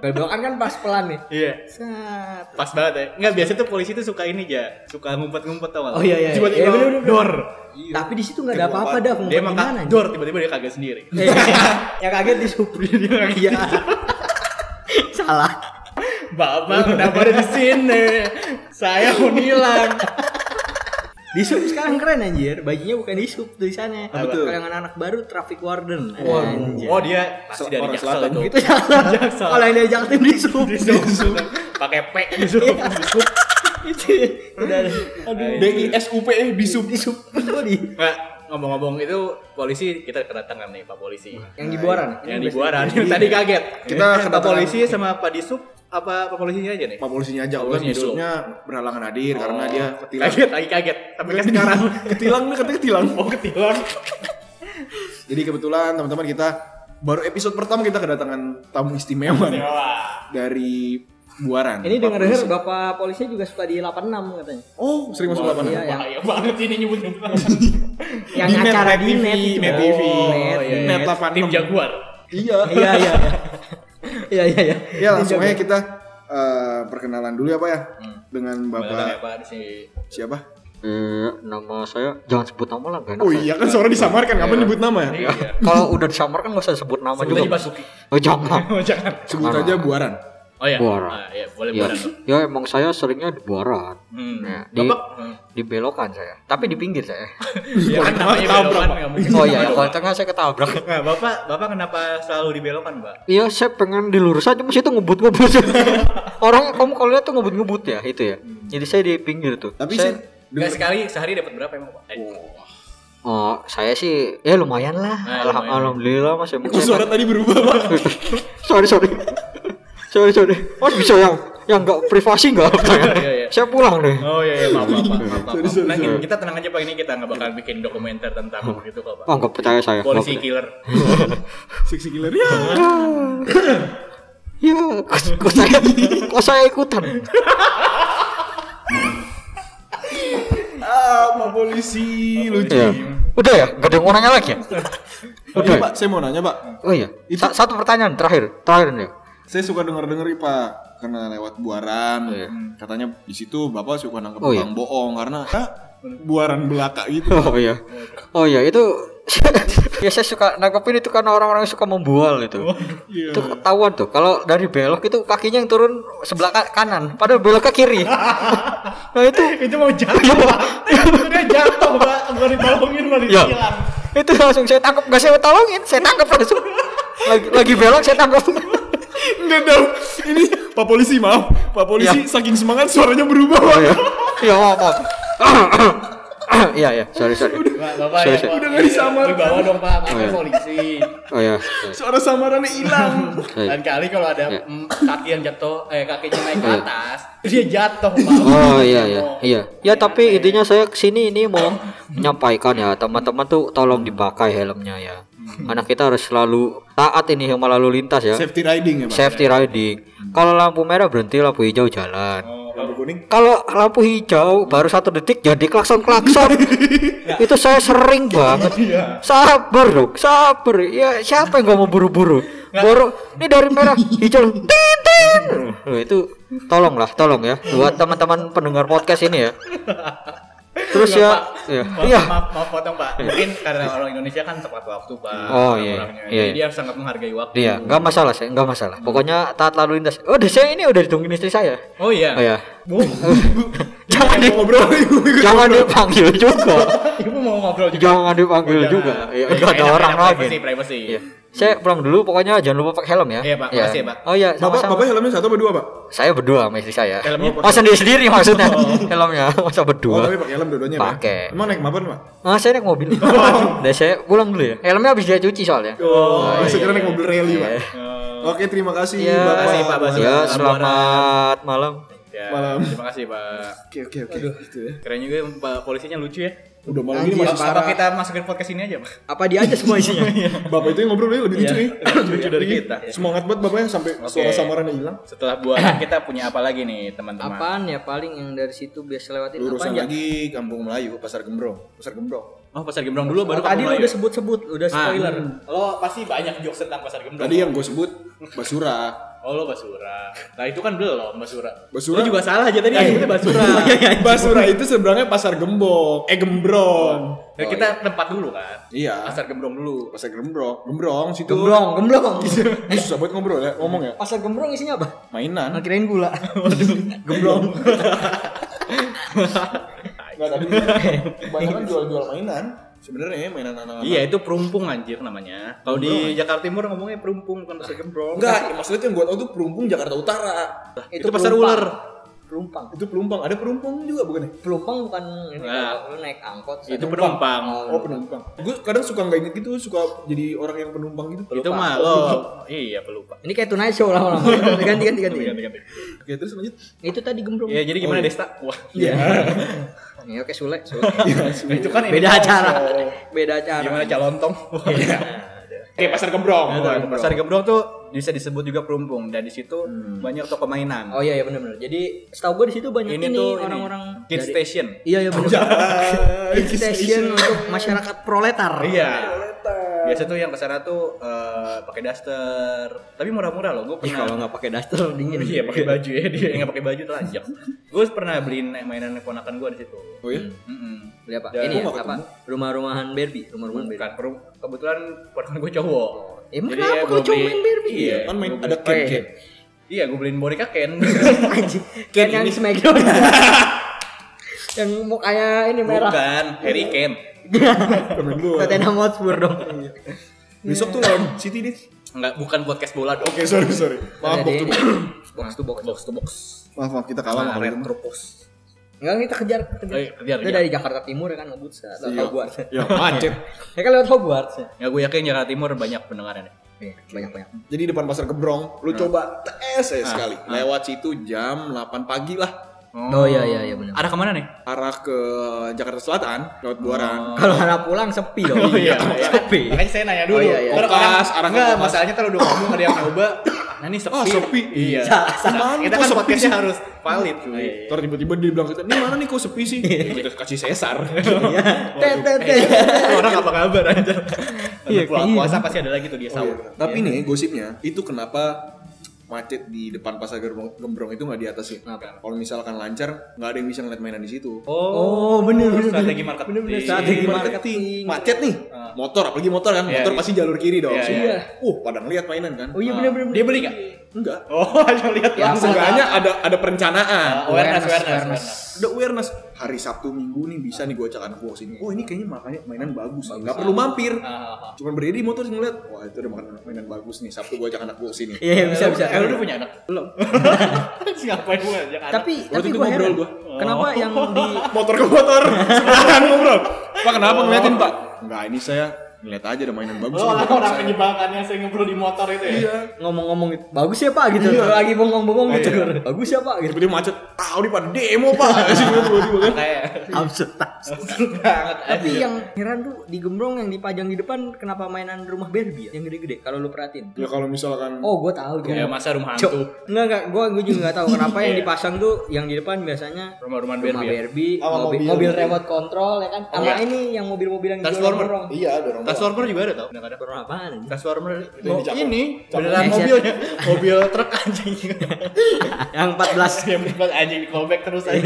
S3: Belokan kan pas pelan nih.
S4: iya
S3: Set.
S4: pas banget ya. Enggak biasa tuh polisi tuh suka ini aja, suka ngumpet-ngumpet tau gak?
S3: Oh, iya, iya.
S4: Tiba-tiba
S3: Iya, bener, bener, bener.
S4: dor. Iya.
S3: Tapi di situ nggak ada apa-apa dah.
S4: Dia emang
S3: gimana,
S4: kak-
S3: anjing?
S4: dor tiba-tiba dia kaget sendiri.
S3: Eh, yang kaget di Supri Iya. Salah.
S4: Bapak kenapa ada di sini? Saya mau hilang.
S3: Di sub sekarang keren anjir. Bajunya bukan di sub tulisannya.
S4: Apa tuh?
S3: Kalau yang anak baru traffic warden. Anjir.
S4: Oh dia pasti dari
S2: Orang
S4: Jaksel
S2: Selatan.
S4: itu.
S3: Itu salah.
S4: Jaksa.
S3: Kalau yang dari Jaktim di sub.
S4: Di Jaksel. Pakai P di Jaksel.
S3: Udah.
S2: D I S U P E bisub.
S3: Di sub. Gua di
S4: Nggak, ngomong-ngomong itu polisi kita kedatangan nih Pak polisi.
S3: yang di buaran.
S4: Yang di buaran tadi
S2: Iya.
S4: kaget.
S2: Kita
S4: Pak
S2: kedatangan-
S4: polisi sama Pak Disub apa Pak polisinya aja nih?
S2: Pak polisinya aja, ulas
S4: Polisinya dulu.
S2: bisubnya berhalangan hadir karena dia ketilang.
S4: Kaget, lagi kaget. Tapi kan sekarang
S2: Ketilang nih, katanya ketilang.
S4: mau ketilang.
S2: Jadi kebetulan teman-teman kita baru episode pertama kita kedatangan tamu istimewa
S4: Ya,
S2: nih. dari Buaran.
S3: Ini
S2: Pak
S3: denger dengar
S2: polisi.
S3: bapak polisi juga suka di 86 katanya.
S2: Oh, sering masuk lapangan.
S3: Iya, yang
S4: Bahaya banget ini nyebut-nyebut.
S3: yang
S2: Di net,
S3: acara
S2: net
S3: di
S2: TV,
S3: net itu.
S2: net TV.
S3: Oh,
S2: iya.
S3: net.
S2: Net 86.
S4: Tim Jaguar.
S2: Iya.
S3: Iya, iya, iya. Iya, iya, iya.
S2: Ya langsung aja kita eh, perkenalan dulu ya Pak ya dengan
S4: Bapak
S2: Bapak
S4: Pak di sini.
S2: siapa?
S5: Eh, nama saya jangan sebut nama lah gak enak.
S2: Oh iya kan suara disamarkan, kapan nyebut nama ya?
S4: Iya.
S5: Kalau udah disamar kan gak usah sebut nama
S4: Sebut aja Basuki.
S5: Oh, jangan.
S4: Oh, jangan.
S2: Sebut aja Buaran.
S4: Oh iya.
S5: Buara.
S4: Ah, iya, boleh buaran. dong.
S5: ya emang saya seringnya di buaran.
S4: Hmm.
S5: Nah, di-
S4: Bapak
S5: Di belokan saya. Tapi di pinggir saya.
S4: ya kan namanya belokan nggak mungkin.
S5: Oh iya, ya,
S4: Aduh,
S5: kalau
S4: Pak.
S5: tengah saya ketabrak.
S4: Nah, Bapak, Bapak kenapa selalu dibelokan, Pak?
S5: Iya, saya pengen di lurus aja mesti itu ngebut-ngebut. Orang kamu kalau lihat tuh ngebut-ngebut ya, itu ya.
S4: Hmm.
S5: Jadi saya di pinggir tuh.
S2: Tapi
S5: saya,
S2: sih
S4: Enggak sekali sehari dapat berapa emang, Pak? Eh,
S5: Oh, saya sih ya lumayan lah.
S4: Eh,
S5: Alham-
S4: lumayan.
S5: Alhamdulillah Mas emang.
S2: Oh, suara tadi berubah Pak.
S5: sorry, sorry. sorry, sorry. Mas bisa yang yang enggak privasi enggak apa
S4: Iya, iya.
S5: Saya pulang deh.
S4: Oh iya, iya maaf, maaf, maaf, maaf, maaf.
S2: Sorry, sorry,
S4: Nah,
S2: sorry.
S4: kita tenang aja pak ini kita nggak bakal bikin dokumenter tentang itu kok pak.
S5: Oh, enggak percaya saya. nggak
S4: Polisi
S5: percaya.
S4: killer.
S2: Seksi killer ya.
S5: Ya, kok- kok saya kok saya ikutan.
S2: Ah, Pak polisi lucu.
S5: Iya. Udah ya, enggak ada yang mau nanya lagi ya?
S2: Oke, Iya, Pak, saya mau nanya Pak.
S5: Oh iya. Sa- satu pertanyaan terakhir, terakhir nih.
S2: Saya suka denger-denger nih, Pak karena lewat buaran.
S5: Iya.
S2: Katanya di situ Bapak suka nangkep
S5: Oh, iya.
S2: tukang bohong karena ah, buaran belaka gitu.
S5: Oh iya. Oh iya itu ya saya suka nangkepin itu karena orang-orang yang suka membual itu. Itu ketahuan tuh. Kalau dari belok itu kakinya yang turun sebelah ka- kanan, padahal belok ke kiri. nah itu
S4: itu mau jatuh pak. itu dia jatuh pak. Nggak ditolongin malah
S5: ya. Itu langsung saya tangkap, gak saya tolongin, saya tangkap langsung. Lagi, lagi belok saya tangkap.
S2: Nggak tahu. Ini Pak Polisi maaf. Pak
S5: Iya.
S2: Polisi saking semangat suaranya berubah. Pak.
S5: ya. Ya apa? Iya ya, sorry sorry.
S4: Pak, Bapak
S5: Sorry,
S4: ya,
S5: sorry.
S4: Pak.
S2: Udah nggak disamar.
S4: Wibawa dong Pak,
S5: Oh,
S4: Pak
S5: iya.
S4: polisi.
S5: Oh ya.
S2: Suara samarannya hilang.
S4: Lain kali kalau ada
S5: Iya.
S4: mm, kaki yang jatuh, eh kakinya naik ke
S5: Iya.
S4: atas, dia jatuh Pak.
S5: Oh iya iya iya. Ya tapi intinya saya kesini ini mau menyampaikan ya teman-teman tuh tolong dipakai helmnya ya. Anak kita harus selalu taat ini sama lalu lintas ya.
S2: Safety riding ya, Pak.
S5: Safety riding. Kalau lampu merah berhenti, lampu hijau jalan.
S2: Lampu kuning.
S5: Kalau lampu hijau baru satu detik jadi klakson klakson. Itu saya sering banget.
S4: Iya.
S5: Sabar dong, sabar. Ya siapa yang gak mau buru-buru? Baru ini dari merah hijau. tin, tin. Loh, itu tolonglah, tolong ya buat teman-teman pendengar podcast ini ya. Terus ya, ya,
S4: Maaf,
S5: iya.
S4: maaf, maaf potong Pak. Mungkin karena orang Indonesia kan tepat waktu Pak.
S5: Oh, iya,
S4: Orangnya.
S5: iya,
S4: Jadi
S5: iya.
S4: dia harus sangat menghargai waktu.
S5: Iya, nggak masalah saya, nggak masalah. Pokoknya taat lalu lintas. Oh, saya ini udah ditungguin istri saya.
S4: Oh iya.
S5: Oh ya,
S4: Bu,
S5: jangan di- jangan dipanggil juga.
S4: ibu mau ngobrol juga.
S5: jangan dipanggil juga. Iya, nggak ada
S4: enak,
S5: orang
S4: enak,
S5: lagi.
S4: Privacy, privacy.
S5: Iya. Saya pulang dulu, pokoknya jangan lupa pakai helm ya.
S4: Iya, Pak.
S5: Ya.
S4: Makasih, Pak.
S5: Oh iya,
S2: Bapak,
S5: sama-sama.
S2: Bapak helmnya satu apa dua, Pak?
S5: Saya berdua sama istri saya.
S4: Helmnya Oh.
S5: Oh, sendiri-sendiri maksudnya. Helmnya masa
S2: Oh,
S5: berdua.
S2: tapi pakai helm dua-duanya, Pak.
S5: Pakai.
S2: Emang naik mapan, Pak?
S5: Ah, saya naik mobil.
S4: Oh.
S5: Dan saya pulang dulu ya. Helmnya habis dia cuci soalnya.
S2: Oh, segera naik mobil
S3: iya,
S2: rally, Pak.
S4: Eh,
S2: Oke, terima kasih,
S5: Iya.
S2: Bapak.
S4: kasih, Pak Bas.
S5: Ya, selamat malam.
S4: Ya,
S2: Malam.
S4: Terima kasih, Pak.
S2: Oke, oke, oke. Gitu ya. Nah,
S4: Keren juga Pak polisinya lucu ya.
S2: Udah malam gini
S3: Anjir,
S2: masih
S4: Apa, apa
S2: parah.
S4: kita masukin podcast ini aja, Pak?
S3: Apa dia aja semua isinya?
S5: Iya.
S2: Bapak itu yang ngobrol ya, lebih Iya, lucu nih.
S4: lucu dari
S2: Ini
S4: kita.
S2: Semangat banget Bapaknya sampai suara samarannya hilang.
S4: Setelah buatan
S5: Eh.
S4: kita punya apa lagi nih, teman-teman?
S3: Apaan ya paling yang dari situ biasa lewatin
S2: Lurusan
S3: apaan ya?
S2: lagi Kampung Melayu, Pasar Gembrong. Pasar Gembrong.
S4: Oh, Pasar Gembrong dulu baru
S3: Oh, tadi
S4: Kampung
S3: lu udah
S4: Melayu.
S3: sebut-sebut, udah spoiler.
S4: Ah, lo pasti banyak jokes tentang Pasar Gembrong.
S2: Tadi yang gue sebut Basura.
S4: Oh, lo Basura. Nah, itu kan belum Basura. Eh.
S2: Basura?
S4: Lu juga Iya, salah aja tadi sebutnya Basura.
S2: Basura itu sebenarnya pasar gembong, eh gembrong.
S4: Dan Ya, kita tempat dulu kan.
S2: Iya.
S4: Pasar Gembrong dulu.
S2: Pasar gembrong, gembrong situ.
S3: Gemblong, gemblong.
S2: Eh, susah banget ngobrol ya, ngomong ya.
S3: Pasar gemblong isinya apa?
S2: Mainan.
S3: Kirain gula.
S2: Gembrong. Enggak tapi kebanyakan jual-jual mainan. Sebenarnya ya, mainan anak-anak.
S4: Iya, itu perumpung anjir namanya. Kalau di Jakarta Timur ngomongnya perumpung bukan Pasar Gembrong.
S2: Enggak, ya, maksudnya yang gue tau tuh perumpung Jakarta Utara.
S4: Itu, Pasar Ular.
S3: Pelumpang.
S2: Itu pelumpang, ada pelumpang juga bukan ya?
S3: Pelumpang bukan ini
S4: Nah.
S3: kalau lu naik angkot.
S4: Itu penumpang.
S2: Oh penumpang. Gue kadang suka nggak inget gitu, suka jadi orang yang penumpang gitu.
S4: Itu mah lo. Iya, pelupa.
S3: Ini kayak tunai show lama-lama. Ganti ganti ganti.
S2: Oke terus lanjut.
S3: Itu tadi gemblong.
S4: Ya, jadi gimana Desta? Wah.
S3: Ya oke Sule. Sule.
S4: Nah, itu kan ini
S3: Beda acara.
S4: show.
S3: Beda acara.
S4: Gimana calontong?
S2: Iya.
S4: Oke, Pasar Gembrong. Pasar Gembrong tuh bisa disebut juga perumpung dan di situ banyak toko mainan.
S3: Oh iya ya benar-benar. Jadi setahu gue di situ banyak ini,
S4: ini, tuh ini,
S3: orang-orang
S4: kids
S3: dari-
S4: station.
S3: Iya iya benar. Kids station untuk masyarakat proletar.
S4: Iya. Biasa tuh yang kesana tuh eh, pakai daster, tapi murah-murah loh. Gue
S3: Ih,
S4: pernah
S3: kalau nggak pakai daster dingin.
S4: Iya pakai baju ya dia nggak pakai baju telanjang. gue pernah beliin mainan keponakan gue di situ.
S2: Oh iya?
S4: Mm-mm.
S3: Beli apa?
S4: Dan-
S3: ini
S2: Gua
S3: ya,
S2: nggak
S3: apa? Rumah-rumahan Barbie, rumah-rumahan Barbie.
S4: Bukan perum- kebetulan keponakan gue cowok.
S3: Eh, emang
S4: Jadi,
S3: kenapa
S4: ya,
S3: kalau
S4: gua
S3: cowok
S4: beli-
S3: main Barbie?
S4: Iya
S2: Kan main
S4: gua
S2: ada
S4: beli-
S2: cat cat.
S4: Iya gue beliin boneka Ken.
S3: Anjing. Ken yang Smackdown. yang mau kayak ini merah.
S4: Bukan Harry Ken.
S2: Temen gue.
S3: Tottenham Hotspur dong.
S4: Iya.
S2: Besok tuh lawan City deh.
S4: Enggak bukan podcast bola dong.
S2: Oke sorry sorry. Maaf
S3: Ada
S2: waktu
S3: ini. Box to box.
S4: Box to box.
S2: Maaf maaf kita
S3: Oh,
S2: kalah
S4: Nah,
S2: sama Rem.
S4: retro post.
S3: Enggak kita kejar,
S2: Oh,
S3: kejar.
S2: iya,
S4: Eh, kejar,
S3: Itu
S4: kejar.
S3: dari Jakarta Timur ya kan ngebut Hogwarts.
S2: Ya macet.
S3: Ya kan lewat Hogwarts. ya.
S4: Ya gue yakin Jakarta Timur banyak pendengarannya.
S3: Iya, banyak-banyak.
S2: Jadi depan pasar Gebrong, lu coba tes aja sekali. Lewat situ jam 8 pagi lah.
S3: Oh iya iya iya benar.
S4: Arah kemana nih?
S2: Arah ke Jakarta Selatan, lewat Buaran.
S3: Kalau anak pulang sepi dong.
S4: Oh,
S2: Oh, iya.
S3: sepi.
S4: Iya, Makanya saya nanya dulu.
S3: Oh, iya, iya.
S4: Ntar
S2: Kokas,
S4: orang-
S2: arah ke
S4: enggak,
S2: kokas.
S4: masalahnya kalau udah ngomong ada yang nyoba. Nah, ini sepi.
S2: Ah, sepi.
S4: Iya.
S3: Salah, salah.
S2: Mana
S4: Kita
S2: kok
S4: kan
S2: sepi
S4: podcastnya
S2: sih?
S4: harus valid cuy.
S2: Ntar tiba-tiba dia bilang kita, ini mana nih kok sepi sih? Kita iya. kasih sesar.
S3: Tet tet tet.
S2: Eh,
S4: Orang apa kabar aja. Iya,
S3: Iya,
S4: Oh, pulang
S3: kayaknya.
S4: puasa pasti ada lagi tuh dia sahur.
S2: Iya. Tapi nih gosipnya, itu kenapa macet di depan pasar Gerbong- Gembrong itu nggak diatasin.
S3: Kenapa?
S2: Kalau misalkan lancar, nggak ada yang bisa ngeliat mainan di situ.
S3: Oh, bener bener.
S4: strategi
S3: bener.
S4: marketing.
S3: Bener bener
S2: Strategi
S3: strategi marketing.
S2: marketing. Macet nih. Motor apalagi motor kan,
S4: Iya,
S2: motor
S4: iya.
S2: pasti jalur kiri dong.
S4: Iya,
S2: Semua.
S3: iya.
S2: Uh, pada ngeliat mainan kan.
S3: Oh iya bener bener.
S4: Dia beli nggak?
S2: Enggak.
S4: Oh, ayo lihat ya.
S3: Ya,
S4: Ah.
S2: Seenggaknya ada ada perencanaan.
S4: Awareness, awareness,
S3: awareness.
S4: awareness.
S2: Ada awareness hari Sabtu Minggu nih bisa nih gue acakan ke sini. Oh ini kayaknya makanya mainan bagus. nih. Nggak perlu mampir.
S4: Ah, ah, ah.
S2: Cuman berdiri di motor ngeliat, wah itu udah makan mainan bagus nih. Sabtu gue ajak anak gue sini.
S3: Iya, iya, bisa bisa.
S4: Eh, lu udah punya anak?
S3: Belum.
S4: Ngapain gue ajak anak?
S3: Tapi tapi
S2: itu
S3: gue
S2: ngobrol
S3: heran.
S2: gua. Oh.
S3: Kenapa yang di
S2: motor ke motor sebelahan ngobrol pak kenapa ngeliatin pak enggak ini saya ngeliat aja ada mainan bagus nih,
S4: Oh, lah
S2: buat
S4: orang
S2: saya.
S4: penyebakannya saya ngobrol di motor itu ya.
S2: iya
S3: ngomong-ngomong gitu, bagus ya Pak gitu. Lagi bongong-bongong gitu. Bagus ya Pak gitu.
S2: tiba-tiba macet tahu nih pak demo pak Sih, tiba-tiba kan.
S4: Kayak
S3: Absurd Tapi yang heran tuh di gembrong yang dipajang di depan kenapa mainan rumah Barbie ya? yang gede-gede kalau lu perhatiin.
S2: ya kalau misalkan
S3: Oh, gue tahu
S4: kayak
S3: tuh.
S4: masa rumah
S3: Cok.
S4: hantu.
S3: Enggak enggak, gue gue juga enggak tahu kenapa yang dipasang tuh yang di depan biasanya
S4: Rumah-rumah
S3: rumah
S4: Barbie. ya?
S3: Barbie,
S2: Sama
S3: mobil,
S2: mobil.
S3: mobil remote control ya kan. Sama ini yang mobil-mobil yang di
S4: Transformer.
S3: gorong-gorong.
S2: iya dorong
S4: Transformer juga ada tau? Kadang-kadang.
S3: Gorong apaan? ini?
S4: Transformer itu
S2: Yang di Jakarta.
S4: ini beneran
S3: Jakarta.
S4: mobilnya mobil truk anjing
S3: yang 14.
S4: yang bukan anjing di callback terus aja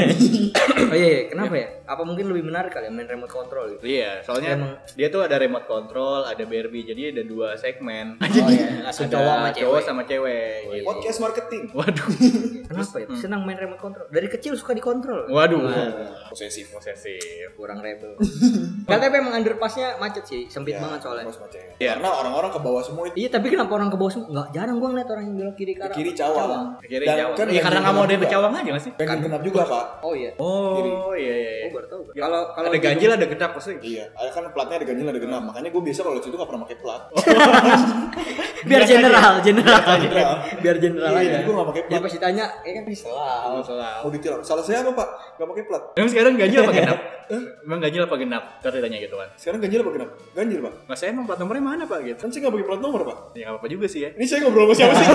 S3: Oh iya, iya, kenapa ya? Apa mungkin lebih menarik kali ya main remote control gitu?
S4: iya soalnya
S3: Emang.
S4: dia tuh ada remote control ada Barbie jadi ada dua segmen
S3: Oh iya, langsung
S4: ada
S3: cowok sama
S4: cowok
S3: cewek.
S4: sama cewek gitu.
S2: podcast marketing
S4: waduh
S3: Kenapa ya? Senang main remote control. Dari kecil suka dikontrol.
S4: waduh
S2: posesif
S4: posesif
S3: Kurang rebel. Katanya emang underpassnya macet sih,
S4: Iya,
S3: sempit banget soalnya.
S2: Mas Maceng. Iya, karena orang-orang ke bawah semua itu
S3: Iya, tapi kenapa orang ke bawah semua? Enggak, jarang gua ngeliat orang yang belok kiri ke arah
S2: kiri cawang Dan
S4: kiri Iya, cawang
S2: kan
S4: Iya, karena nggak mau ada
S2: juga.
S4: cawang aja nggak sih
S2: pengen genap juga pak
S3: Oh iya.
S4: oh iya iya
S3: Oh,
S4: iya.
S3: baru tahu. gua. Kalau kalau
S4: ada
S3: di-
S4: ganjil ada genap pasti
S2: iya ada kan platnya ada ganjil ada genap makanya gue biasa kalau di situ gak pernah pakai plat
S4: Iya.
S3: biar general, general.
S2: General.
S3: Biar general
S2: Iya,
S3: aja.
S2: jadi gua nggak pakai
S3: Jadi
S2: plat.
S3: pas ditanya, eh kan bisa lah.
S2: mau ditilang salah saya apa pak gak pakai plat
S4: Emang sekarang ganjil apa genap? Emang ganjil apa genap? Ntar ditanya gitu kan.
S2: sekarang ganjil apa genap ganjil pak
S4: Mas saya emang plat nomornya mana pak gitu?
S2: kan saya gak pakai plat nomor pak
S4: Ya nggak apa-apa juga sih ya.
S2: ini saya ngobrol sama siapa sih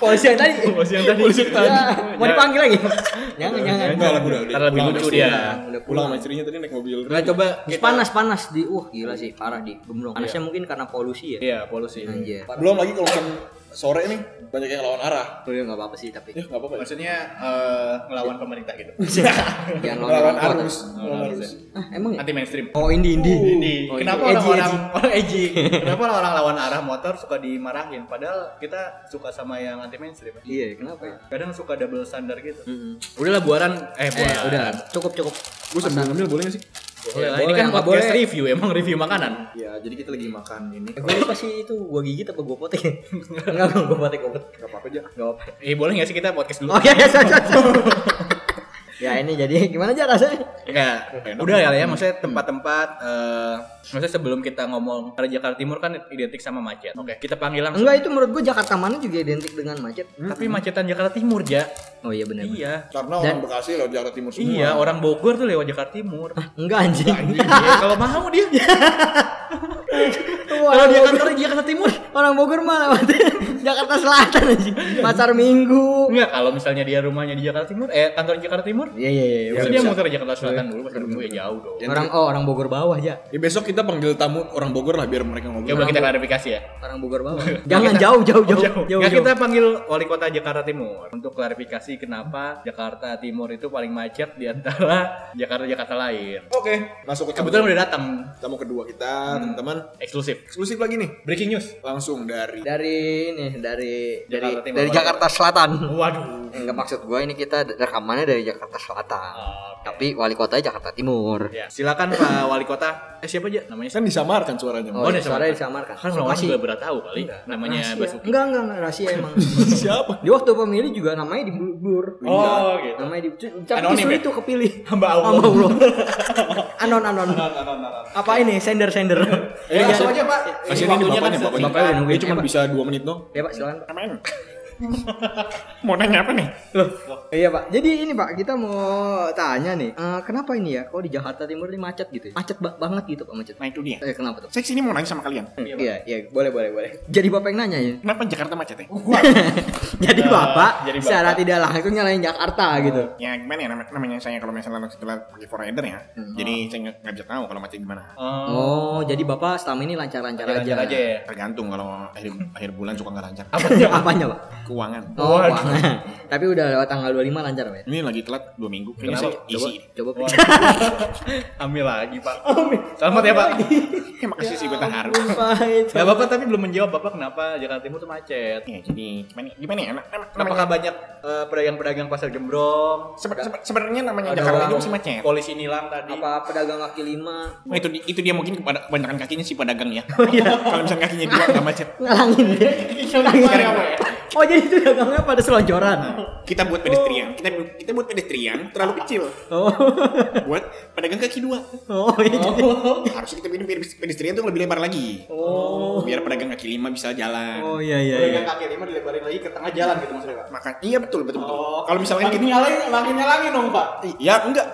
S3: Polisi yang tadi. Iya,
S4: Polisi yang tadi. Polisi yang tadi.
S3: Ya, mau dipanggil lagi. Jangan, jangan.
S2: Enggak lah, udah.
S4: Ntar lebih lucu dia.
S3: Udah
S2: Pulang sama istrinya tadi naik mobil.
S4: Nah coba
S3: Terus panas panas di uh gila sih parah di Gembrong. Panasnya mungkin karena polusi ya.
S4: Iya polusi.
S3: Anjir.
S2: Belum lagi kalau misalnya sore nih banyak yang lawan arah.
S3: Oh iya enggak apa-apa sih tapi.
S2: Ya enggak apa-apa. ya.
S4: Maksudnya eh, melawan pemerintah gitu.
S3: Jangan
S2: Lawan
S3: kuat.
S2: arus, lawan arus.
S3: Ah, emang ya?
S4: Anti mainstream.
S3: Oh, indie indie.
S4: Ini
S3: Oh,
S4: kenapa
S3: indie. Edgy,
S4: orang-orang orang edgy? Kenapa orang lawan arah motor suka dimarahin? Padahal kita suka sama yang anti mainstream.
S3: edgy. Iya, kenapa ya?
S4: Kadang suka double standar gitu. Udahlah buaran. Eh,
S3: Eh,
S4: buaran.
S3: udah, cukup cukup.
S2: Gue sambil ngambil boleh gak sih?
S4: Boleh lah.
S3: Boleh,
S4: Ini kan
S3: nggak
S4: podcast
S3: boleh.
S4: review, emang review makanan.
S2: Ya, jadi kita lagi makan ini.
S3: Gue lupa sih itu Eh, gua gigit apa gua potek. ya? Enggak, gua gua potek gua. potek.
S2: Enggak apa-apa aja.
S3: Enggak apa.
S4: Eh boleh nggak sih kita podcast dulu?
S3: Oh iya, iya, sorry, sorry, sorry. Ya ini jadi gimana aja rasanya?
S4: Enggak, udah ya lah
S3: Hmm.
S4: ya, maksudnya tempat-tempat eh maksudnya sebelum kita ngomong dari Jakarta Timur kan identik sama macet. Oke, kita panggil langsung.
S3: Enggak itu menurut gua Jakarta mana juga identik dengan macet.
S4: Tapi macetan Jakarta Timur, Ja.
S3: Oh iya benar.
S4: Hmm. Iya.
S2: Karena orang Bekasi lewat Jakarta Timur semua.
S4: Iya, orang Bogor tuh lewat Jakarta Timur.
S3: Enggak anjing.
S4: Iya, kalau mau dia. Kalau dia kantornya di Jakarta Timur.
S3: Orang Bogor malah lewat Jakarta Selatan anjing. Pasar Minggu.
S4: Enggak, kalau misalnya dia rumahnya di Jakarta Timur, eh kantor di Jakarta Timur,
S3: Iya iya iya.
S4: Maksudnya dia muter Jakarta Selatan dulu, pasar minggu ya jauh dong.
S3: Orang oh orang Bogor bawah ya.
S2: Ya besok kita panggil tamu orang Bogor lah biar mereka ngobrol.
S4: Coba kita klarifikasi ya.
S3: Orang Bogor bawah. Jangan jauh jauh jauh.
S4: Jauh.
S3: Jauh. jauh.
S4: Nggak, kita panggil wali kota Jakarta Timur untuk klarifikasi kenapa Jakarta Timur itu paling macet di antara Jakarta-Jakarta lain.
S2: Oke, masuk ke tamu.
S4: Kebetulan udah datang
S2: Tamu kedua kita, teman-teman.
S4: eksklusif.
S2: Eksklusif lagi nih.
S4: Breaking news.
S2: Langsung dari
S3: dari ini dari
S4: Jakarta
S3: dari
S4: Timur.
S3: dari Jakarta Oh. Selatan.
S4: Waduh.
S5: Enggak maksud gua ini kita rekamannya dari Jakarta Selatan.
S3: Ah,
S5: Tapi wali kotanya Jakarta Timur.
S4: Ya, silakan Pak Wali Kota. Eh siapa aja namanya?
S2: kan disamarkan suaranya.
S3: Oh,
S4: Oh,
S3: iya,
S4: udah
S3: suaranya
S4: sama.
S3: disamarkan.
S4: Kan orang
S3: Masih.
S4: juga berat tahu kali namanya
S3: Rahasia.
S4: Basuki.
S3: Enggak enggak enggak, rahasia emang.
S2: Siapa?
S3: Di waktu pemilih juga namanya di blur. Iya.
S4: Oh, gitu.
S3: Namanya di tapi
S4: Anonim
S3: justru
S4: ya?
S3: itu kepilih.
S4: Hamba Allah.
S3: Hamba Allah. anon anon. Apa ini sender sender?
S2: Eh,
S4: Iya,
S3: Iya,
S2: langsung aja, Pak. Kasihan ini
S4: Waktunya
S2: bapaknya,
S4: kan
S2: bapaknya.
S3: Bapaknya udah nungguin.
S2: Dia cuma
S3: Apa?
S2: bisa 2 menit dong.
S3: Ya Pak silakan. Pak.
S2: Mau nanya apa nih?
S3: Iya Pak. Jadi ini Pak kita mau tanya nih, eh, kenapa ini ya? Kok di Jakarta Timur ini macet gitu? ya? Macet ba- banget gitu Pak macet.
S2: Nah, itu dia.
S3: Eh kenapa tuh?
S2: Saya kesini mau nanya sama kalian.
S3: Iya iya boleh boleh boleh. Jadi bapak yang nanya ya.
S2: Kenapa Jakarta macet ya?
S3: jadi bapak
S4: Oh, Iya, jadi bapak.
S3: secara tidak langsung nyalain Jakarta gitu.
S6: ya gimana ya nam- namanya saya kalau misalnya langsung setelah pakai forerunner ya jadi saya nggak nggak bisa tahu kalau macet gimana
S4: Oh,
S3: Oh, jadi bapak selama ini lancar-lancar aja.
S4: aja ya.
S6: tergantung kalau akhir akhir bulan suka nggak lancar
S3: Apanya, Apanya pak?
S6: keuangan.
S3: Oh, keuangan. Tapi udah lewat tanggal 25 lancar, Wet.
S6: Ini lagi telat dua minggu. Kayaknya
S4: Kenapa?
S6: saya isi.
S3: Coba periksa.
S4: Ambil lagi pak. Selamat ya pak.
S6: Ya, makasih sih gue terharu.
S4: Gak apa-apa tapi belum menjawab bapak kenapa Jakarta Timur tuh macet.
S6: Ya, jadi gimana, gimana ya? Nah, nah, namanya-
S4: Apakah banyak eh, pedagang-pedagang pasar gembrong?
S6: sebe- sebe- sebenarnya
S3: Ada
S6: namanya Jakarta
S3: orang-
S6: itu masih macet.
S4: Polisi nilang tadi.
S3: Apa pedagang kaki lima
S6: Nah, itu di- itu dia mungkin kepada kebanyakan kakinya si pedagang ya. Kalau misalnya kakinya dua nggak macet.
S3: ngalangin dia. Ngalangin. Oh, jadi itu dagangnya pada selonjoran.
S6: Kita buat pedestrian, kita bu- kita buat pedestrian terlalu kecil.
S3: Oh.
S6: Buat pedagang kaki dua.
S3: Oh, iya.
S6: Harusnya kita bikin pedes- pedestrian tuh lebih lebar lagi. Oh. Biar pedagang kaki lima bisa jalan.
S3: Oh, iya iya iya.
S7: kaki lima dilebarin lagi ke tengah jalan gitu maksudnya pak
S6: Maka iya betul betul betul.
S3: Oh.
S6: Kalau misalkan
S7: lagi
S6: kita
S7: nyalain lagi nyalain dong pak
S6: ya enggak.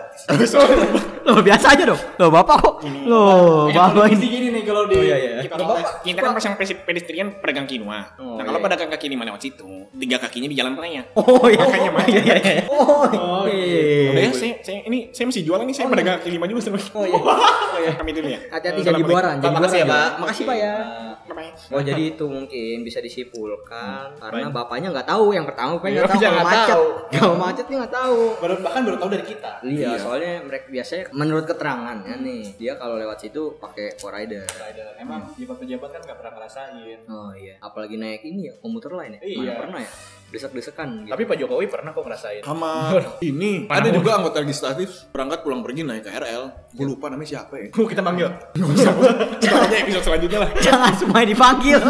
S6: Soalnya
S3: Loh, biasa aja dong. Loh, Bapak kok. Loh, Bapak ini.
S7: gini nih kalau di
S3: iya.
S6: kita, kita kan pasang pes- pedestrian pedagang kinua. nah, kalau pedagang kaki lima lewat situ, tiga kakinya di jalan
S3: iya.
S6: raya.
S3: Oh, iya.
S6: Makanya macet.
S3: Iya, iya, iya. Oh,
S6: Udah
S3: iya.
S6: ya, saya, saya ini saya masih jualan nih, saya pedagang kaki lima juga sama.
S3: Oh, iya.
S6: Kami dulu ya.
S3: Hati-hati jadi buaran, jadi
S7: Makasih ya,
S3: buaran.
S7: Pak.
S3: Makasih, Pak ya.
S6: Namanya.
S3: Oh jadi itu mungkin bisa disimpulkan karena bapaknya nggak tahu yang pertama bapaknya nggak tahu
S7: Hmm, Iya,
S3: kalau
S7: nggak
S3: macet
S7: tahu.
S3: kalau macet dia nggak tahu
S7: baru bahkan baru tahu dari kita
S3: Iya, soalnya mereka biasanya menurut keterangannya nih
S7: Hmm.
S3: dia kalau lewat situ pakai rider.
S4: Emang pejabat-pejabat kan gak pernah ngerasain.
S3: Oh iya, apalagi naik ini ya komuter lain ya, mana
S4: Iya.
S3: pernah ya desek-desekan. Gitu.
S4: Tapi Pak Jokowi pernah kok ngerasain.
S2: sama ini ada juga anggota legislatif berangkat pulang pergi naik KRL gue lupa namanya siapa ya
S4: Mau kita panggil.
S6: Soalnya episode selanjutnya lah.
S3: jangan semua dipanggil.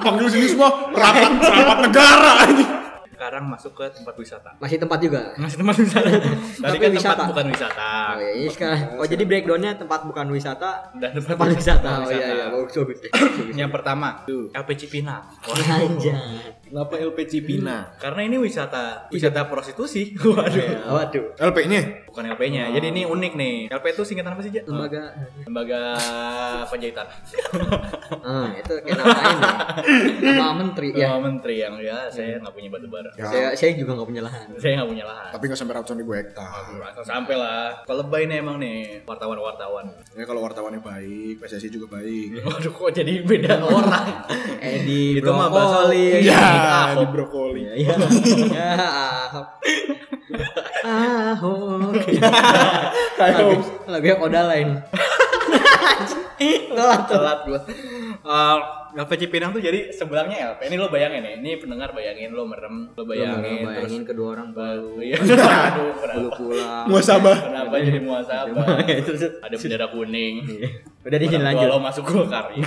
S6: Panggil sini semua rapat rapat negara anjing.
S4: Sekarang masuk ke tempat wisata.
S3: Masih tempat juga.
S4: Masih tempat wisata. Tadi
S3: Tapi
S4: kan
S3: wisata.
S4: tempat bukan wisata.
S7: Ah,
S3: Oh iya, iya sekarang. Oh jadi breakdownnya tempat bukan wisata,
S4: Dan tempat,
S3: tempat wisata. Oh iya iya, bagus bagus.
S4: Yang pertama, LPG Pinang.
S3: Anjay.
S2: kenapa LPC Pina
S4: Karena ini wisata wisata prostitusi. Waduh.
S3: Waduh, Oh.
S2: LP-nya
S4: Bukan LP-nya. Jadi ini unik nih. LP itu singkatan apa sih, Ja?
S3: lembaga.
S4: Lembaga penjahitan.
S3: Ah, itu kayak namain ya. Nama menteri ya.
S4: Sama Hmm. menteri yang ya saya nggak punya batu bara.
S3: Saya saya juga nggak punya lahan.
S4: Saya nggak punya lahan.
S2: Ya, tapi nggak sampai ratusan ribu hektar
S4: Langsung sampai lah. Kalau lebay nih emang nih wartawan-wartawan.
S2: ya kalau wartawannya baik PSSI juga
S3: Iya.
S2: baik
S4: Waduh kok jadi beda orang.
S3: Edi
S4: Itu mah bakso.
S3: Eh, brokoli.
S4: Iya,
S2: di
S4: Ahok.
S2: brokoli
S3: Iya. Ya, Ahok. Ahok. Lagu- Lagunya koda lain. Telat telat gua.
S4: Eh, LPG Pinang tuh jadi sebelahnya LP. Ini lo bayangin nih, ini pendengar bayangin lo merem, lo bayangin,
S3: Bayangin, bayangin kedua orang
S4: terus iya. Aduh,
S3: baru
S4: kenapa,
S3: pulang.
S2: muasabah
S4: kenapa jadi muasabah? Ada bendera kuning.
S3: Udah di
S4: Orang tua
S3: sini Iya. lanjut.
S4: Lo masuk Golkar. ya.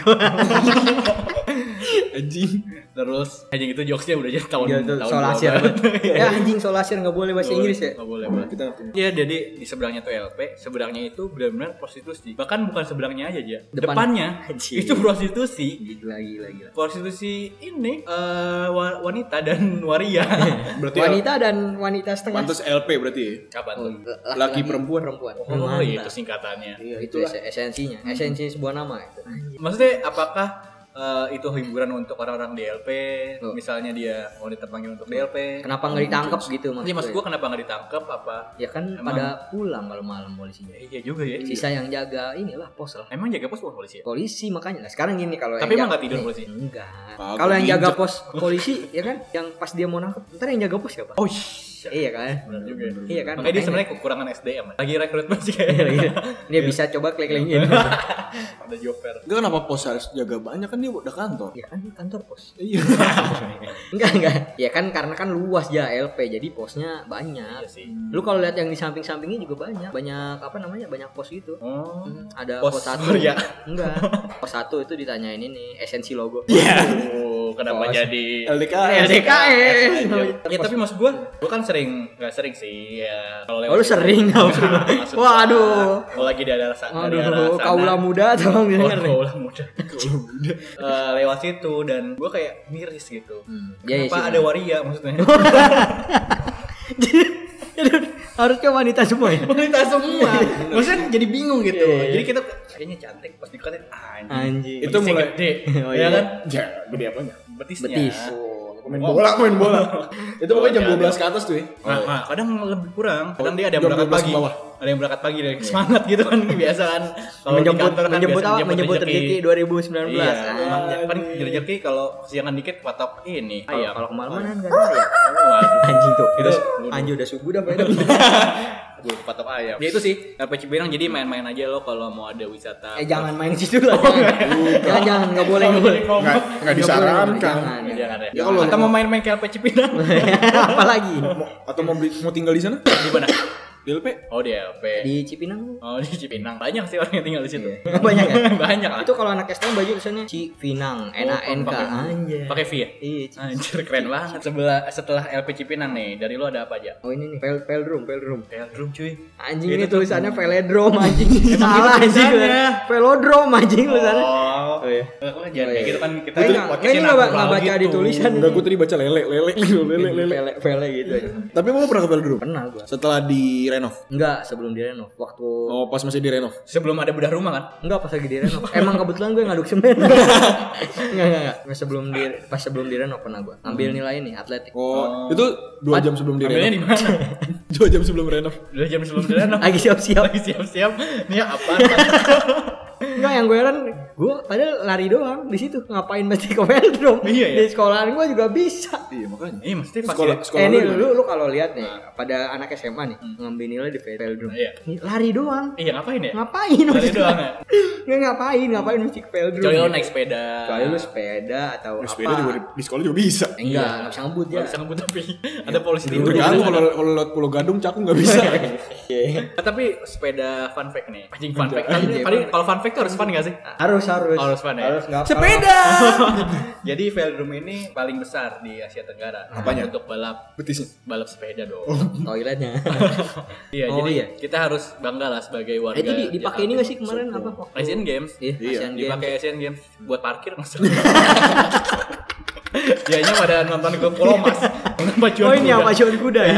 S4: Terus anjing itu jokesnya udah jadi tahun
S3: Ya, itu
S4: tahun
S3: solasir.
S4: berapa. Iya.
S3: Ya anjing solasir nggak boleh bahasa Inggris ya.
S4: Nggak boleh banget. Ya jadi di sebelahnya tuh LP, sebelahnya itu benar-benar prostitusi. Bahkan bukan sebelahnya aja aja.
S3: Depan.
S4: Depannya
S3: Anjing.
S4: itu prostitusi.
S3: Gila gila gila.
S4: prostitusi ini eh, wa- wanita dan waria. ya.
S2: berarti
S3: Wanita dan wanita setengah.
S2: pantas LP berarti ya
S4: Kapan
S3: Oh,
S4: tuh?
S3: laki-
S2: Laki, perempuan.
S3: perempuan.
S4: Hmm. Oh, iya, itu
S3: Mantap.
S4: singkatannya.
S3: Iya, itu es- esensinya, esensi sebuah nama itu.
S4: Maksudnya apakah eh, itu hiburan untuk orang-orang DLP?
S3: Tuh.
S4: Misalnya dia mau dipanggil untuk DLP.
S3: Kenapa nggak ditangkap
S4: Iya
S3: gitu maksudnya?
S4: maksud gua kenapa nggak ditangkap apa?
S3: ya kan
S4: Emang-
S3: pada pulang kalau malam polisinya.
S4: Eh, Iya juga ya.
S3: Sisa yang jaga inilah pos lah.
S4: Emang jaga pos bukan polisi ya?
S3: Polisi makanya lah sekarang gini kalau
S4: Tapi emang
S3: yang jaga-
S4: nggak tidur polisi? Ah,
S3: Enggak.
S2: Kagak
S3: Kalau yang jaga
S2: diinjek.
S3: pos polisi ya kan yang pas dia mau nangkep ntar yang jaga pos siapa?
S4: Oh iya.
S3: Iya kan?
S4: Benar juga. ya.
S3: Iya kan?
S4: Makanya dia sebenarnya kekurangan SDM. ya. Lagi rekrutmen sih
S3: Iya,
S4: kayaknya.
S3: iya. dia bisa coba klik-klikin.
S4: Iya. Ada joper.
S2: Enggak kenapa pos harus jaga banyak kan dia udah kantor.
S3: ya kan kantor pos.
S2: Iya.
S3: Enggak enggak. Ya kan karena kan luas ya LP jadi posnya banyak.
S4: Iya sih.
S3: Lu kalau lihat yang di samping-sampingnya juga banyak. Banyak apa namanya? Banyak pos gitu.
S4: Oh.
S3: Ada
S4: Pos
S3: pos, satu.
S4: Surya.
S3: Enggak. Pos satu itu ditanyain ini esensi logo.
S4: Oh, kenapa
S3: Iya. Pos.
S4: jadi
S2: Iya. LDKS.
S3: LDKS.
S4: Ya tapi maksud gue, gue kan sering, nggak sering sih ya kalau
S3: Oh, lu sering nggak?
S4: Maksud gua,
S3: Waduh.
S4: Kalau lagi di daerah sana, di daerah
S3: Aduh,
S4: sana.
S3: kaula muda ya, kan? tolong Iya,
S4: Oh,
S3: denger nih.
S4: kaulah muda. Kaulah muda. Eh, lewat situ dan gue kayak miris gitu.
S3: Hmm, iya, iya
S4: Kenapa
S3: sih,
S4: ada
S3: bener.
S4: waria maksudnya?
S3: Harusnya wanita semua ya.
S4: Wanita semua. maksudnya jadi bingung gitu.
S3: Iya, iya.
S4: Jadi kita kayaknya cantik pas dikatain anjing.
S3: Anjing.
S2: Itu mulai-
S4: gede.
S3: Oh,
S4: ya
S3: iya.
S4: kan?
S2: Ya, gede apa ya?
S4: Betisnya.
S3: Betis.
S2: Main bola, main bola. Itu pokoknya jam
S4: Oh, iya,
S2: 12 ke atas tuh ya.
S3: Oh.
S4: Nah, nah, kadang lebih kurang, kadang dia ada yang
S2: Jam
S4: berangkat
S2: 12 ke
S4: pagi.
S2: bawah.
S4: ada yang berangkat pagi dari semangat gitu kan biasa kan kalau di
S3: menjemput
S4: kantor kan
S3: menjemput
S4: biasa
S3: Iya. apa? Menjemput rezeki 2019.
S4: Iya,
S3: Ah,
S4: emang paling rezeki kalau siangan dikit patok ini.
S3: Kalau
S4: Ayam.
S3: kalau kemalaman kan enggak ya.
S4: Waduh.
S3: Anjing tuh.
S4: Iya. Itu
S3: Anjing udah subuh dah pada.
S4: Gue patok ayam. Ya itu sih, RPC bilang jadi main-main aja lo kalau mau ada wisata.
S3: Eh jangan main situ lah. Jangan jangan enggak boleh enggak boleh.
S6: Nggak, nggak disarankan.
S3: Jangan.
S4: Ya,
S3: jangan.
S4: Jangan ya. kalau atau mau main-main ke LPC Pinang
S3: Apalagi
S2: Atau mau beli, mau tinggal di sana?
S4: di mana?
S2: Di LP?
S4: Oh di LP.
S3: di Cipinang
S4: Oh di Cipinang banyak sih orang yang tinggal di situ.
S3: banyak ya?
S4: Iya. banyak lah.
S3: itu kalau anak STM baju tulisannya Cipinang, N A N K.
S4: pakai-
S3: Anjay.
S4: pakai V ya?
S3: Iya. Ci-
S4: Anjir keren banget. Sebelah setelah LPC Pinang nih, dari lo ada apa aja?
S3: Oh ini nih, pel peldrum, peldrum.
S4: Velodrome cuy.
S3: Anjing ini tulisannya velodrom anjing. Salah anjing.
S4: tulisannya.
S3: Velodrom anjing tulisannya.
S4: Oh.
S3: Oh iya.
S4: Aku kan jangan kayak
S3: Oh, iya.
S4: gitu kan kita
S3: Nah, ini nggak-
S4: podcastnya
S3: ini nggak ba-
S4: natural
S3: nggak baca di tulisan.
S2: Enggak, gue tadi baca lele, lele, lele, lele.
S3: Pele, pele gitu aja.
S2: Tapi mau pernah ke Velodrome?
S3: Pernah gua.
S2: Setelah di renov.
S3: Enggak, sebelum direnov. Waktu
S2: Oh, pas masih di renov.
S4: Sebelum ada bedah rumah kan?
S3: Enggak pas lagi direnov. Emang kebetulan gue ngaduk semen. Enggak, enggak, enggak. Nah, sebelum di pas sebelum direnov pernah gua. Ambil nilai nih atletik.
S2: Oh, itu dua jam
S3: Iya,
S2: sebelum di
S4: Ambilnya
S2: renov.
S4: di mana?
S2: Dua jam sebelum renov.
S4: Dua jam sebelum direnov.
S3: Lagi siap-siap.
S4: Lagi siap-siap. Ini apa?
S3: Enggak yang gue heran, gue padahal lari doang di situ. Ngapain mesti ke velodrome?
S4: Iya, iya.
S3: Di sekolahan gue juga bisa.
S4: Ini mesti ya?
S2: Sekolah,
S4: pakai
S2: sekolah
S3: eh,
S2: lu
S3: nih,
S2: di mana?
S3: lu, lu kalau lihat nih, pada anak SMA nih, ngambil nilai di
S4: Nah.
S3: velodrome.
S4: Hmm. Iya.
S3: Nih, Lari doang.
S4: Iya ngapain ya?
S3: Ngapain?
S4: Lari doang ya?
S3: Nggak ngapain, ngapain mesti ke velodrome.
S4: Kecuali lo naik sepeda.
S3: Kecuali lu sepeda atau
S6: Terus
S3: apa?
S6: sepeda juga di, di sekolah juga bisa.
S3: Eh, Enggak, enggak bisa ngebut ya.
S4: Gak Iya. bisa ngebut tapi ada polisi tidur.
S2: Terganggu kalau kalau lewat Pulau Gadung cakung nggak bisa. Iya.
S4: Nah, tapi sepeda fun fact nih. Anjing fun fact.
S3: Iya,
S4: Tapi paling kalau fun fact tuh harus fun gak sih?
S3: Harus harus.
S4: Harus fun ya?
S3: Harus nggak-
S4: Jadi velodrome ini paling besar di Asia Tenggara. Apanya? Untuk balap
S2: Betisnya.
S4: balap sepeda dong.
S3: kalau Toiletnya.
S4: Iya,
S3: Oh,
S4: jadi
S3: iya.
S4: kita harus bangga lah sebagai warga.
S3: Eh, itu di- dipakai ini nggak sih kemarin apa? Waktu-
S4: Asian Games.
S3: Iya, Asian Games.
S4: Dipakai Asian Games buat parkir maksudnya. Dianya pada nonton ke Pulau Mas. Nonton pacuan
S3: Oh, ini
S4: kuda.
S3: yang pacuan kuda ya.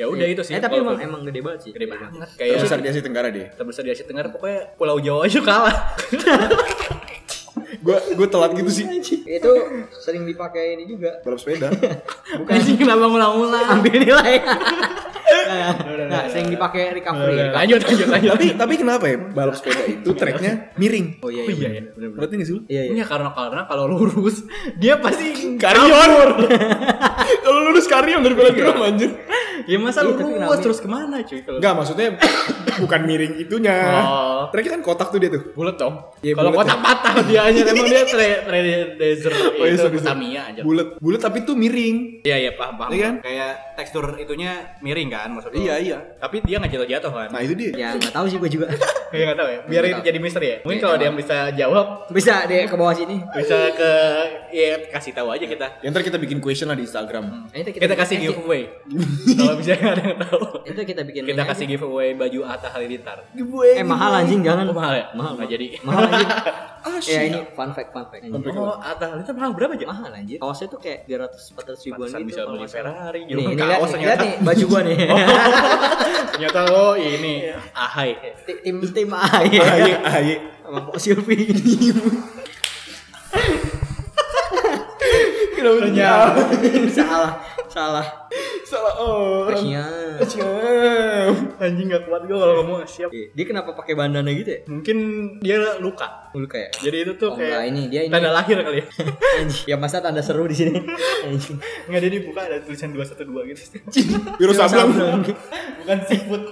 S4: Ya udah itu sih.
S3: Eh, tapi emang
S4: Walaupun
S3: emang gede banget sih.
S4: gede banget. Kayak
S2: Iya, Besar di Asia Tenggara deh.
S4: terbesar di Asia Tenggara pokoknya Pulau Jawa aja kalah.
S2: Gue gue telat gitu sih.
S3: Itu sering dipakai ini juga.
S2: Balap sepeda.
S4: Bukan sih kenapa ngulang-ngulang.
S3: Ambil nilai. Nah, Nah, sering dipakai recovery.
S4: Lanjut lanjut lanjut.
S2: tapi tapi kenapa ya balap sepeda itu treknya miring?
S3: Oh iya
S4: Oh, iya ya.
S2: Berarti nggak sih lu?
S3: Iya, iya.
S4: Iya karena karena kalau lurus dia pasti
S2: Karion. Kalau lulus karion dari Velodrome anjir.
S4: ya masa
S3: Iya, tapi
S4: lurus
S3: kenapa?
S4: terus kemana cuy kalau
S2: Enggak, maksudnya bukan miring itunya.
S4: Oh.
S2: Treknya kan kotak tuh dia tuh.
S4: bulat dong.
S2: Iya,
S4: kalau
S2: bulat
S4: kotak patah dia aja emang dia tra- trailblazer
S2: iya,
S4: itu
S2: sorry, sorry.
S4: Tamiya aja.
S2: Bulat, bulat tapi tuh miring.
S4: Iya iya paham paham.
S2: Iya kan?
S4: Kayak tekstur itunya miring kan maksudnya.
S2: Iya, iya.
S4: Tapi dia nggak jatuh-jatuh kan.
S2: Nah, itu dia.
S3: Ya nggak tahu sih gue juga.
S4: Iya nggak tahu ya. Biar itu jadi misteri ya. Mungkin kalau ada yang bisa jawab
S3: Bisa deh ke bawah sini.
S4: bisa ke ya kasih tahu aja kita.
S2: Ya, ntar kita bikin question lah di Instagram.
S3: Eh, Itu
S4: Kita kasih
S3: eh,
S4: giveaway. Kalau bisa ada yang tahu.
S3: Itu kita bikin.
S4: Kita
S3: ini
S4: kasih giveaway baju Atta Halilintar.
S3: aja. Eh mahal anjing jangan.
S4: Oh, mahal ya?
S3: Mahal.
S4: Nggak jadi.
S3: Mahal anjing.
S4: Ah,
S3: Ya ini fun fact fun fact. Anjing.
S4: Oh, Atta Halilintar mahal berapa aja?
S3: Mahal anjir. Kaosnya tuh kayak 200 400 ribuan
S4: Pantesan
S3: gitu.
S4: bisa
S3: kalau
S4: beli
S3: nggak salah.
S4: Ferrari,
S3: Nih,
S4: juga
S3: ini lihat
S4: kaos
S3: nih, lihat
S4: ternyata. Oh.
S3: nih baju gua nih.
S4: Ternyata lo ini
S3: Iya.
S4: ahai.
S3: Ti- tim tim
S4: Oh,
S3: aja
S4: iya.
S2: Aye.
S3: sama Pak Silvi salah salah
S2: Salah orang.
S3: kasihan
S4: Oh, Anjing gak kuat gue kalau ngomong siap.
S3: Iya, dia kenapa pakai bandana gitu ya
S4: Mungkin dia luka.
S3: mulu kayak
S4: Jadi itu tuh
S3: Oh,
S4: kayak
S3: enggak, ini, dia ini.
S4: tanda lahir kali ya.
S3: anjing. ya masa tanda seru di sini anjing
S4: Enggak dia dibuka ada tulisan 212 gitu.
S2: Biro Sableng.
S4: Bukan seafood.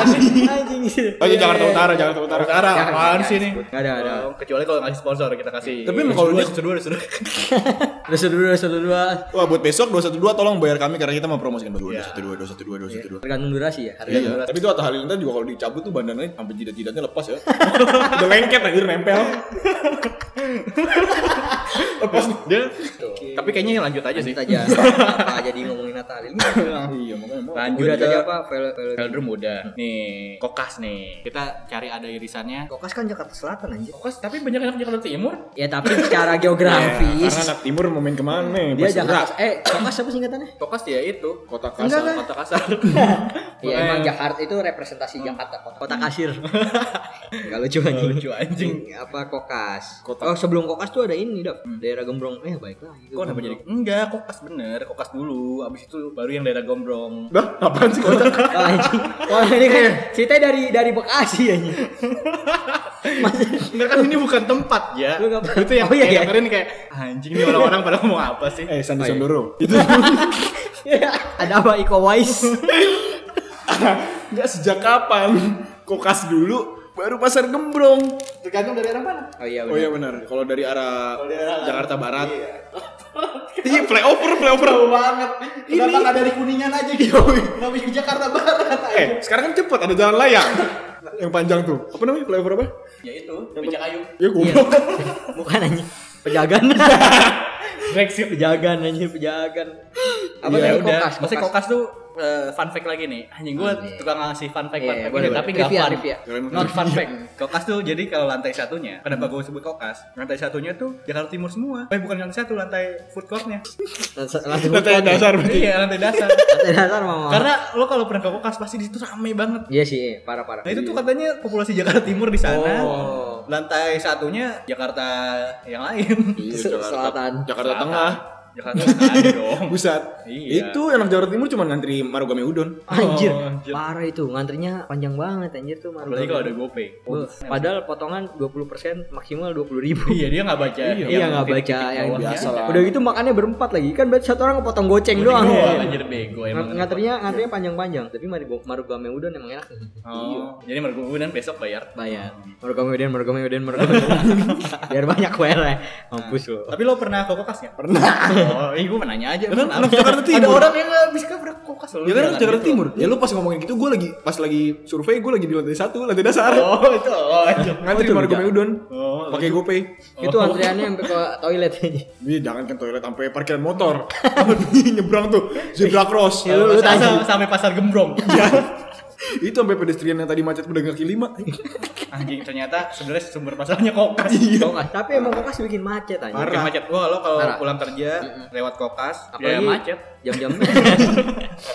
S3: anjing gitu.
S2: Oh, itu Jakarta Utara, Jakarta Utara.
S4: Utara apaan sih ini?
S3: nggak ya, ada nggak ada
S4: Oh, kecuali kalau ngasih sponsor kita kasih.
S2: Tapi emang kalau dia-
S4: sudah sudah.
S3: udah seru udah seru dua
S2: Wah, buat besok 212 tolong bayar kami karena kita mau promosikan baru 212 212 212.
S3: tergantung durasi ya harga
S2: Iya, tapi itu Atta Halilintar juga kalau dicabut tuh bandananya sampai jidat-jidatnya lepas ya. Udah lengket anjir nempel. lepas nih.
S4: Dia. Tapi kayaknya lanjut aja sih.
S3: Lanjut aja apa jadi ngomongin Natalin
S2: Iya, makanya mau.
S4: Lanjut
S3: udah tadi
S4: ke
S3: apa Vel- Vel-
S4: Veldrum udah. Nah, Nih, kokas nih. Kita cari ada irisannya.
S3: Kokas kan Jakarta Selatan anjing
S4: Kokas tapi banyak anak Jakarta Timur.
S3: ya tapi secara geografis
S2: Karena anak timur mau main kemana?
S6: Iya,
S3: dia
S2: Pas gerak.
S3: Jakarta eh Kokas apa singkatannya
S4: Kokas ya itu.
S2: kota
S3: Enggak
S2: kasar.
S3: lah.
S4: Kota kasar.
S3: Iya, Ya emang Jakarta itu representasi Jakarta kota, kota kasir. Gak lucu anjing.
S4: Lucu anjing.
S3: Apa kokas? Oh sebelum kokas tuh ada ini dap daerah Gembrong. Eh baiklah. itu
S4: Kok kenapa jadi?
S3: Gembrong.
S4: Enggak, kokas bener, kokas dulu. Abis itu baru yang daerah Gombrong.
S2: Dah, apaan sih kocak?
S3: Wah, Oh, anjing. Wah ini kan ceritanya dari dari Bekasi anjing.
S4: Enggak kan ini bukan tempat ya.
S3: Lu nggak-
S4: Itu yang
S3: Oh, iya,
S4: kayak
S3: iya.
S4: dengerin kayak anjing nih orang-orang pada ngomong apa sih?
S2: Eh, Sandi Sondoro. Itu
S3: Iya. ada apa Iko Wais?
S2: enggak sejak kapan? Kokas dulu, baru pasar gembrong. Tergantung dari arah mana?
S3: Oh iya
S2: Oh
S3: benar.
S2: iya benar. Kalau dari arah Jakarta Barat. Iya, playover, playover. banget. Ini
S7: Kenapa nggak dari kuningan aja gitu? Kenapa di Jakarta Barat?
S2: Eh, sekarang kan cepet ada jalan layang. Yang panjang tuh. Apa namanya? Flyover apa?
S4: Ya itu, becak kayu.
S2: Ya goblok.
S3: Bukan anjing. Pejagan.
S4: Brexit.
S3: pejagan anjing pejagan. Apa
S4: Ya
S3: tadi
S4: udah,
S3: kokas?
S4: maksudnya kokas tuh eh, fun fact lagi nih. Anjing gua tukang ngasih fun fact,
S3: Iya,
S4: fun fact
S3: boleh,
S4: ini,
S3: boleh.
S4: tapi enggak
S3: Trivia,
S4: fun.
S3: trivia.
S4: Not fun fact. Kokas tuh jadi kalau lantai satunya, kenapa gua sebut kokas? Lantai satunya tuh Jakarta Timur semua. Eh bukan lantai satu, lantai food courtnya.
S3: Langsung
S2: Lantai dasar berarti.
S4: Iya, lantai dasar.
S3: Lantai dasar mama.
S4: Karena lo kalau pernah ke kokas pasti di situ rame banget.
S3: Iya sih, iya. parah parah.
S4: Nah itu tuh katanya populasi Jakarta Timur di sana.
S3: Oh.
S4: Lantai satunya Jakarta yang lain.
S3: Iya, Selatan.
S2: Jakarta Tengah.
S4: Jakarta Selatan dong.
S2: Pusat.
S4: Iya.
S2: Itu anak Jakarta Timur cuma ngantri marugame udon.
S3: Anjir,
S4: Oh, anjir.
S3: parah itu ngantrinya panjang banget anjir tuh Marugo.
S4: Apalagi kalau ada GoPay.
S3: Be- Padahal potongan 20% maksimal 20 ribu
S4: Iya dia nggak baca.
S3: Iya
S4: yang
S3: nggak baca
S4: titik-titik
S3: yang
S4: bawahnya.
S3: biasa lah. Udah gitu makannya berempat lagi kan berarti satu orang potong goceng doang.
S4: Iya,
S3: Iya.
S4: Anjir bego emang.
S3: Ng- Ngantrinya ngantrinya panjang-panjang tapi Marugo- marugame udon emang enak nih.
S4: Oh, jadi mergugunan besok bayar.
S3: Bayar. Marugame udon, marugame udon, marugame udon. Biar banyak ya. wele. Mampus lo.
S4: Tapi lo pernah ke kokas nggak? Pernah. Oh, iya gue mau nanya aja.
S2: Kan
S4: pernah.
S2: anak Jakarta
S4: Ada
S2: Timur.
S4: orang yang nggak bisa ke kokas lo. Iya, gitu.
S2: Ya kan anak Jakarta Timur. Ya lu pas ngomongin gitu gue lagi pas lagi survei gue lagi di lantai satu, lantai dasar.
S4: Oh itu. Oh, itu.
S2: Ngantri marugame udon.
S4: Oh,
S2: Pakai GoPay.
S3: Itu antriannya sampai ke toilet aja.
S2: Ini jangan ke toilet sampai parkiran motor. Nyebrang tuh zebra cross.
S4: Iya,
S3: Ya, lu- lu
S4: Sampai-
S3: tanya.
S4: sampai pasar gembrong.
S2: Itu sampai pedestrian yang tadi macet udah kaki lima.
S4: Anjing ternyata sebenarnya sumber masalahnya kokas.
S3: Kokas. Tapi emang kokas bikin macet anjir.
S4: Parah. Iya. macet. Wah, lo kalau
S3: Parah.
S4: pulang kerja lewat kokas, ya
S3: Apalagi
S4: macet. Iya,
S3: Jam-jam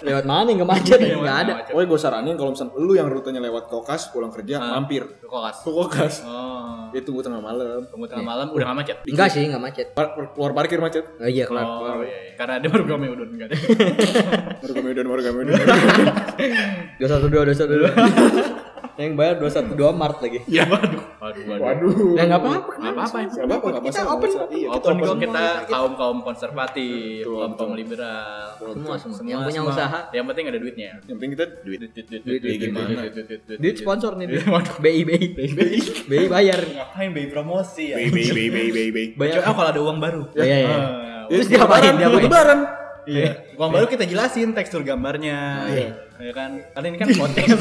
S3: lewat mana nggak macet? Nggak ada.
S4: Macet.
S2: Pokoknya gue saranin kalau misalnya lu yang rutenya lewat kokas pulang kerja mampir
S4: Ah, Ke kokas.
S2: ke kokas.
S4: Oh.
S2: Dia tunggu tengah malam.
S4: Tunggu tengah malam udah nggak macet.
S3: Enggak sih, enggak macet.
S2: Par- keluar parkir macet.
S3: Oh iya, kelar.
S4: Oh, iya, iya. Karena ada programnya udon enggak ada.
S2: Marugame udon, marugame udon.
S3: Dua satu dua, dua satu dua. Yang bayar dua satu dua Mart lagi.
S4: Ya waduh. Waduh. waduh.
S3: Nah nggak apa-apa.
S4: Nggak apa-apa ya.
S2: Gak apa-apa, gak masalah. Open, iya, kita
S4: Walaupun
S2: open
S4: kok
S2: semua.
S4: kita kaum kaum konservatif, kaum kaum liberal,
S3: Semua, semua. Yang punya usaha.
S4: yang penting ada duitnya.
S2: Yang penting kita duit.
S4: Duit, duit, duit,
S3: Duit, duit,
S4: gimana?
S3: duit,
S4: Duit, duit, duit,
S3: Duit
S4: duit.
S3: sponsor nih, duit.
S4: Waduh.
S3: BI BI. BI bayar.
S4: Ngapain bayi promosi ya?
S6: baby baby baby baby
S3: Bayar.
S4: Coba kalau ada uang baru.
S3: Iya, iya, iya.
S4: Ah,
S3: Terus diapain? Diapain?
S2: Lebaran.
S4: Iya. Uang baru kita jelasin tekstur gambarnya. Iya. kan? Karena ini kan podcast.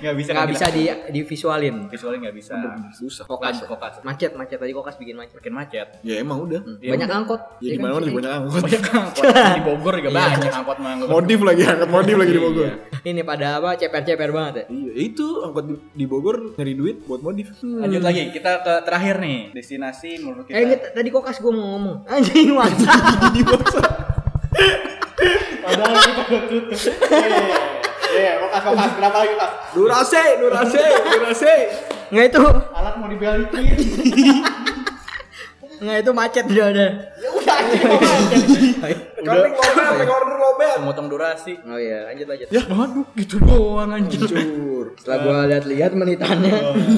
S4: Enggak bisa
S3: Nggak
S4: kan
S3: bisa
S4: kita-
S3: di divisualin.
S4: visualnya enggak bisa.
S2: Susah.
S4: Fokus, fokus.
S3: Macet, macet tadi kokas bikin macet.
S4: Makin macet.
S2: Ya emang udah.
S4: Ya
S3: Banyak angkot. Iya kan?
S2: Ya gimana mana juga
S4: Iya.
S2: banyak angkot.
S4: Banyak angkot. kan Di Bogor
S2: Iya.
S4: juga banyak angkot mah. angkot.
S2: Modif lagi, angkat modif lagi
S4: Iya.
S2: di Bogor.
S3: Ini pada apa ceper-ceper banget ya.
S2: Iya, itu angkot di, di Bogor nyari duit buat modif.
S4: Lanjut lagi, kita ke terakhir nih. Destinasi menurut kita.
S3: Eh inget tadi kokas gue mau ngomong. Anjing masa.
S4: Padahal kita udah tutup. Iya, kokas kokas kenapa lagi kokas?
S2: Durase, durase, durase.
S3: Nggak itu,
S4: Alat mau dibalikin.
S3: nggak itu macet udah udah.
S2: Kambing lobel, kambing order lobel.
S4: Memotong durasi.
S3: Oh iya, lanjut lanjut.
S2: Ya, waduh, gitu doang anjir. Hancur.
S3: Setelah gua lihat-lihat menitannya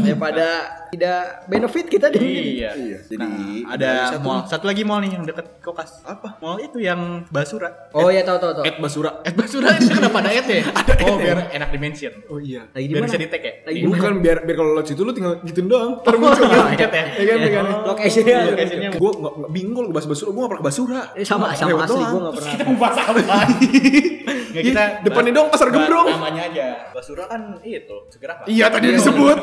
S3: daripada tidak benefit kita di
S4: Iya.
S2: Iya, jadi
S4: Nah, ada mall. Satu lagi mall nih yang deket kokas. Apa? Mall itu yang Basura.
S3: Oh iya tahu tahu tahu.
S2: Ed Basura.
S4: Eh Basura itu kenapa ada et ya? Oh biar enak di mention.
S2: Oh iya.
S3: Lagi di
S4: Biar
S3: mana? kan?
S4: bisa di tag ya?
S3: Lagi di mana?
S2: Bukan biar biar kalau lo situ lu tinggal gituin doang. Ntar muncul
S3: Iya. Oh, iya.
S2: kan. Ya kan, ya kan.
S3: Lokasinya.
S4: Lokasinya
S2: Gue nggak nggak bingung kalau bahas Basura, gue nggak pernah ke Basura.
S3: Eh, sama sama
S2: Lewat
S3: asli
S2: doang.
S3: gua enggak pernah.
S4: kita mau bahas apa? Ya kita
S2: Ih, Iya. depannya dong pasar gembrong.
S4: Namanya aja. Basura kan itu segera apa?
S2: Iya tadi disebut.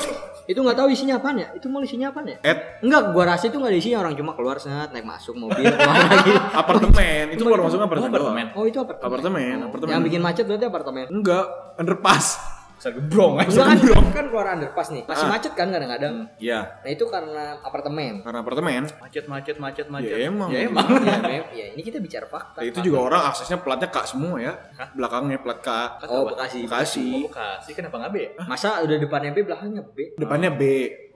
S3: Itu nggak tahu isinya apaan ya? Itu mau isinya apaan ya? Enggak, gua rasa itu nggak ada isinya orang cuma keluar sengat naik masuk mobil keluar lagi.
S2: Apartemen, itu keluar masuknya apartemen doang.
S4: Apartemen.
S3: Oh itu apartemen.
S2: Apartemen, apartemen.
S3: Yang bikin macet berarti apartemen.
S2: Enggak, underpass.
S4: Besar gebrong aja.
S3: Dulu kan, kan keluar underpass nih, masih macet kan kadang-kadang.
S2: Iya.
S3: Nah itu karena apartemen.
S2: Karena apartemen.
S4: Macet macet macet macet.
S2: Ya emang.
S4: Ya emang.
S3: ya, Mem. Ya, ini kita bicara fakta.
S2: Nah, itu juga orang aksesnya platnya Kak semua ya. Belakangnya plat Kak.
S3: Oh Bekasi.
S2: Bekasi.
S4: Bekasi kenapa nggak B? ya?
S3: Masa udah depan MP belakangnya B.
S2: Depannya B,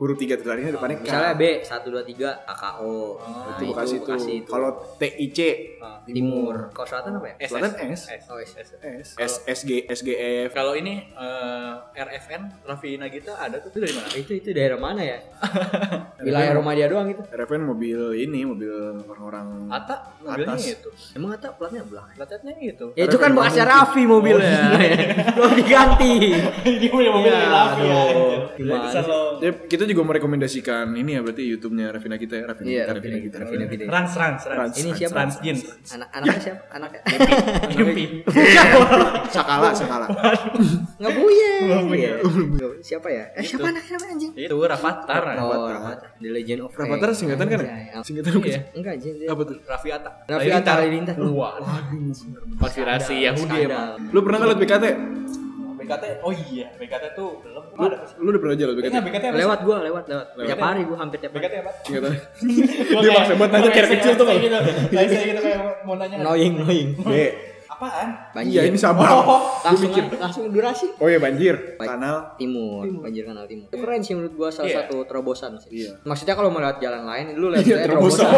S2: huruf tiga terakhirnya depannya K. Ah,
S3: Misalnya B 123 AKO. Nah,
S2: itu Bekasi itu.
S3: Bekasi itu.
S2: Kalau TIC
S3: Ah, timur. Kalau selatan apa ya?
S4: S
S2: Selatan S.
S4: S.
S3: Oh, S.
S4: S.
S2: S SG SGF
S4: Kalau ini eh, RFN Raffi Nagita ada tuh itu dari mana?
S3: Itu itu daerah mana ya? Wilayah rumah dia doang itu.
S2: Reven mobil ini mobil orang-orang
S4: Ata mobilnya
S2: Atas.
S4: itu.
S3: Emang kata platnya belakang.
S4: Platnya itu.
S3: Ya itu kan bekas Raffi mobilnya. Belum diganti. Iya,
S4: Ini punya mobil dari Raffi ya.
S3: Gimana?
S4: Bisa lo
S2: Ya, kita juga merekomendasikan ini ya berarti YouTube-nya Revina kita ya Revina
S3: Iya,
S2: kita
S3: Raffi Nagita, Raffi Nagita.
S4: Rans Rans Rans.
S3: Ini siapa?
S4: Transgen.
S3: Anak anaknya siapa? Anaknya.
S4: Yupi.
S2: Sakala Sakala
S3: Enggak punya. Siapa ya? Eh siapa anaknya namanya anjing?
S4: Itu Rafathar.
S3: Oh, Rafathar. The Legend of Rain.
S2: Rafathar singkatan kan ya?
S3: Iya, iya.
S2: Singkatan
S4: Iya.
S3: Enggak, anjing.
S2: apa tuh?
S4: Raffi Atta.
S3: Raffi Atta, Halilintar.
S4: Wah. Konspirasi Yahudi emang.
S3: Skandal.
S2: Iya, Lu pernah nggak liat BKT?
S4: BKT oh iya BKT tuh belum
S2: Lu,
S4: ada
S2: lu udah pernah aja liat BKT?
S4: Ingat BKT apa sih?
S3: Lewat gua, lewat, lewat. Tiap hari gua hampir tiap
S4: BKT
S3: hari.
S4: apa?
S2: Singkatan.
S4: Dia
S2: maksa buat nanya kayak kecil tuh, Bang.
S4: Gitu. Kayak saya gitu kayak mau nanya.
S3: Knowing, knowing.
S2: B.
S4: Apaan?
S2: Iya ini sama.
S3: Oh, langsung langsung durasi.
S2: Oh iya banjir.
S3: Baik.
S2: Kanal.
S3: Timur, banjir kanal timur. Itu keren sih menurut gua salah
S4: Iya.
S3: satu terobosan sih.
S2: Iya.
S3: Maksudnya kalau mau lewat jalan lain, lu lewat
S2: Iya
S3: jalan
S2: terobosan.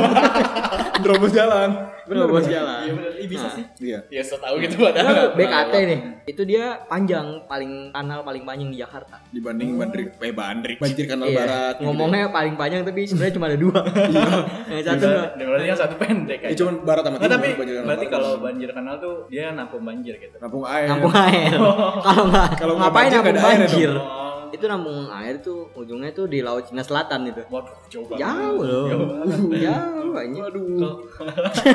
S2: Terobos jalan.
S3: Terobos jalan. Nah.
S4: Iya bener, Ih, bisa sih.
S2: Iya.
S4: Ya so tau gitu padahal.
S3: BKT nih, itu dia panjang, paling kanal paling panjang di Jakarta.
S2: Dibanding banjir eh banjir banjir kanal
S3: Iya.
S2: barat. gitu. Iya.
S3: Ngomongnya paling panjang tapi sebenarnya cuma ada dua. Yang satu
S4: Berarti yang satu pendek
S2: Ya
S4: aja.
S2: cuman barat sama
S4: Nggak,
S2: timur.
S4: Nah, tapi
S2: banjir kanal
S4: berarti
S2: barat.
S4: kalau banjir kanal tuh dia nampung banjir gitu.
S2: Kampung air.
S3: nampung air. Kalau nggak,
S2: Oh. Kalau nggak
S3: ngapain
S2: banjir, nggak
S3: nampung
S2: ada air
S3: banjir?
S2: dong.
S4: Oh,
S3: Itu nampung air tuh ujungnya tuh di Laut Cina Selatan itu.
S4: Waduh, jauh banget.
S3: Jauh loh. Jauh banjir.
S4: Kalau-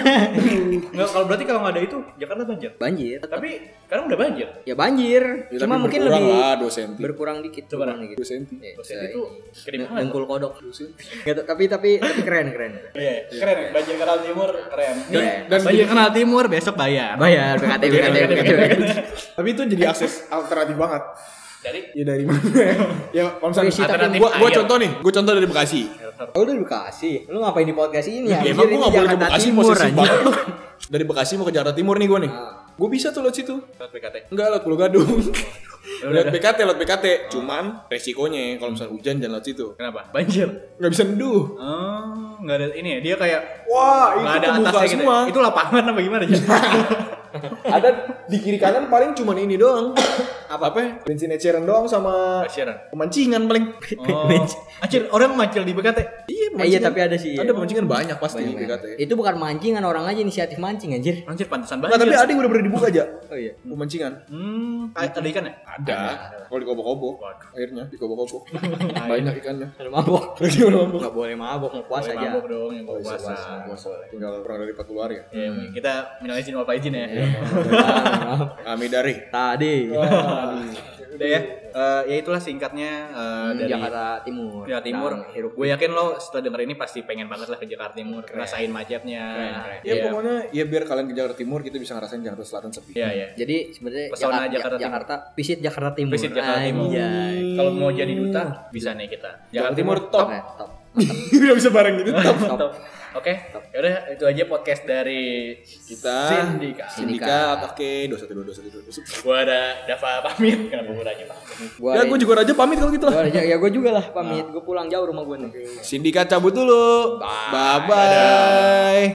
S4: Nggak, kalau berarti kalau nggak ada itu Jakarta banjir.
S3: Banjir. tetap.
S4: Tapi sekarang udah banjir.
S3: Ya banjir.
S2: Ya, tapi
S3: Cuma mungkin
S2: berkurang
S3: lebih
S2: lah 2 cm.
S3: berkurang dikit
S4: Coba,
S3: berkurang dikit.
S2: 2 cm.
S3: Ya, Nah,
S4: Terus
S3: se-
S4: itu ya? keren banget.
S3: dengkul kodok. Nggak tahu, tapi tapi tapi keren keren.
S4: Iya, keren. Banjir kanal timur keren.
S3: Dan-
S4: banjir kanal timur besok
S2: Iya.
S4: bayar.
S3: Bayar BKT BKT BKT.
S2: Tapi itu jadi akses alternatif banget.
S4: Dari
S2: Ya dari mana? ya Ya, kalau misalnya
S3: Puisi tapi
S4: Alternatif
S2: gua, gua
S4: air.
S2: contoh nih, gua contoh dari Bekasi.
S3: Oh, udah dikasih. Lu ngapain di podcast ini
S2: Ya,
S3: anjir?
S2: emang gua
S3: Ini
S2: nggak boleh ke
S3: Jakarta
S2: Bekasi
S3: Timur,
S2: posisi
S3: anjir.
S2: banget. dari Bekasi mau ke Jakarta Timur nih gua nih. Gua bisa tuh lewat situ.
S4: lewat BKT.
S2: Enggak lewat Pulau Gadung. lewat PKT, lewat PKT. Cuman resikonya kalau misalnya hujan jangan lewat situ.
S4: Kenapa? Banjir.
S2: Enggak bisa neduh.
S4: Oh, nggak ada ini ya. Dia kayak
S2: Wah, itu
S4: nggak ada
S2: kebuka
S4: atasnya gitu.
S2: semua.
S4: ya? Itu lapangan apa gimana ya?
S2: Ada di kiri kanan paling cuman ini doang. apa apa? ya? Bensin eceran doang sama
S4: Asiran.
S2: pemancingan paling.
S4: Oh, acir orang macil di BKT.
S2: Iya,
S3: Eh, iya tapi ada sih.
S2: Ada pemancingan banyak pasti di PKT.
S3: Itu bukan mancingan orang aja inisiatif mancing anjir.
S4: Anjir pantesan
S2: Nah,
S4: banjir.
S2: tapi ada yang udah berdibuka aja.
S3: Oh iya.
S2: Pemancingan.
S4: Hmm, ada ada ikan ya?
S2: Ada. Kalau di kobo-kobo. Akhirnya di kobo-kobo. Banyak ikannya.
S3: Udah mabok. Enggak boleh mabok, mau puasa
S4: Boleh
S3: aja.
S4: mabok dong,
S2: Oh,
S4: yang bawa Oh,
S2: iya,
S4: iya, puasa.
S2: Tinggal kurang dari 40 hari ya.
S4: Ya, kita minalin izin apa izin ya.
S2: Kami dari
S3: Tadi
S4: Oh, Udah ya. Eh, ya itulah singkatnya eh, dari
S3: Hmm, Jakarta Timur.
S4: Jakarta Timur.
S3: Dan hirup
S4: Gue yakin lo setelah denger ini pasti pengen banget lah ke Jakarta Timur, ngerasain macetnya.
S2: Ya
S4: Iya.
S2: pokoknya ya biar kalian ke Jakarta Timur kita bisa ngerasain Jakarta Selatan sepi.
S4: Iya, iya.
S3: Jadi sebenarnya
S4: Pesona
S3: Jakarta,
S4: Jakarta Timur.
S3: Jakarta, visit Jakarta Timur.
S4: Visit Jakarta Timur.
S3: Anjay.
S4: Kalau mau jadi duta bisa nih kita. Ya, Jakarta Timur
S3: Top. eh,
S4: top.
S3: Top.
S2: Udah bisa bareng gitu.
S4: Top. Oke. Yaudah itu aja podcast dari
S2: Kita
S4: Sindika.
S2: Sindikat. Oke, 212
S4: Gua ada Dava pamit kenapa gua nanya Pak?
S3: Gua
S2: 212. Ya gue juga aja pamit kalau gitu lah.
S3: gua aja- ya gua juga
S4: Ah.
S3: lah pamit. Gua pulang jauh rumah gua nih.
S2: Sindikat cabut dulu. Bye bye.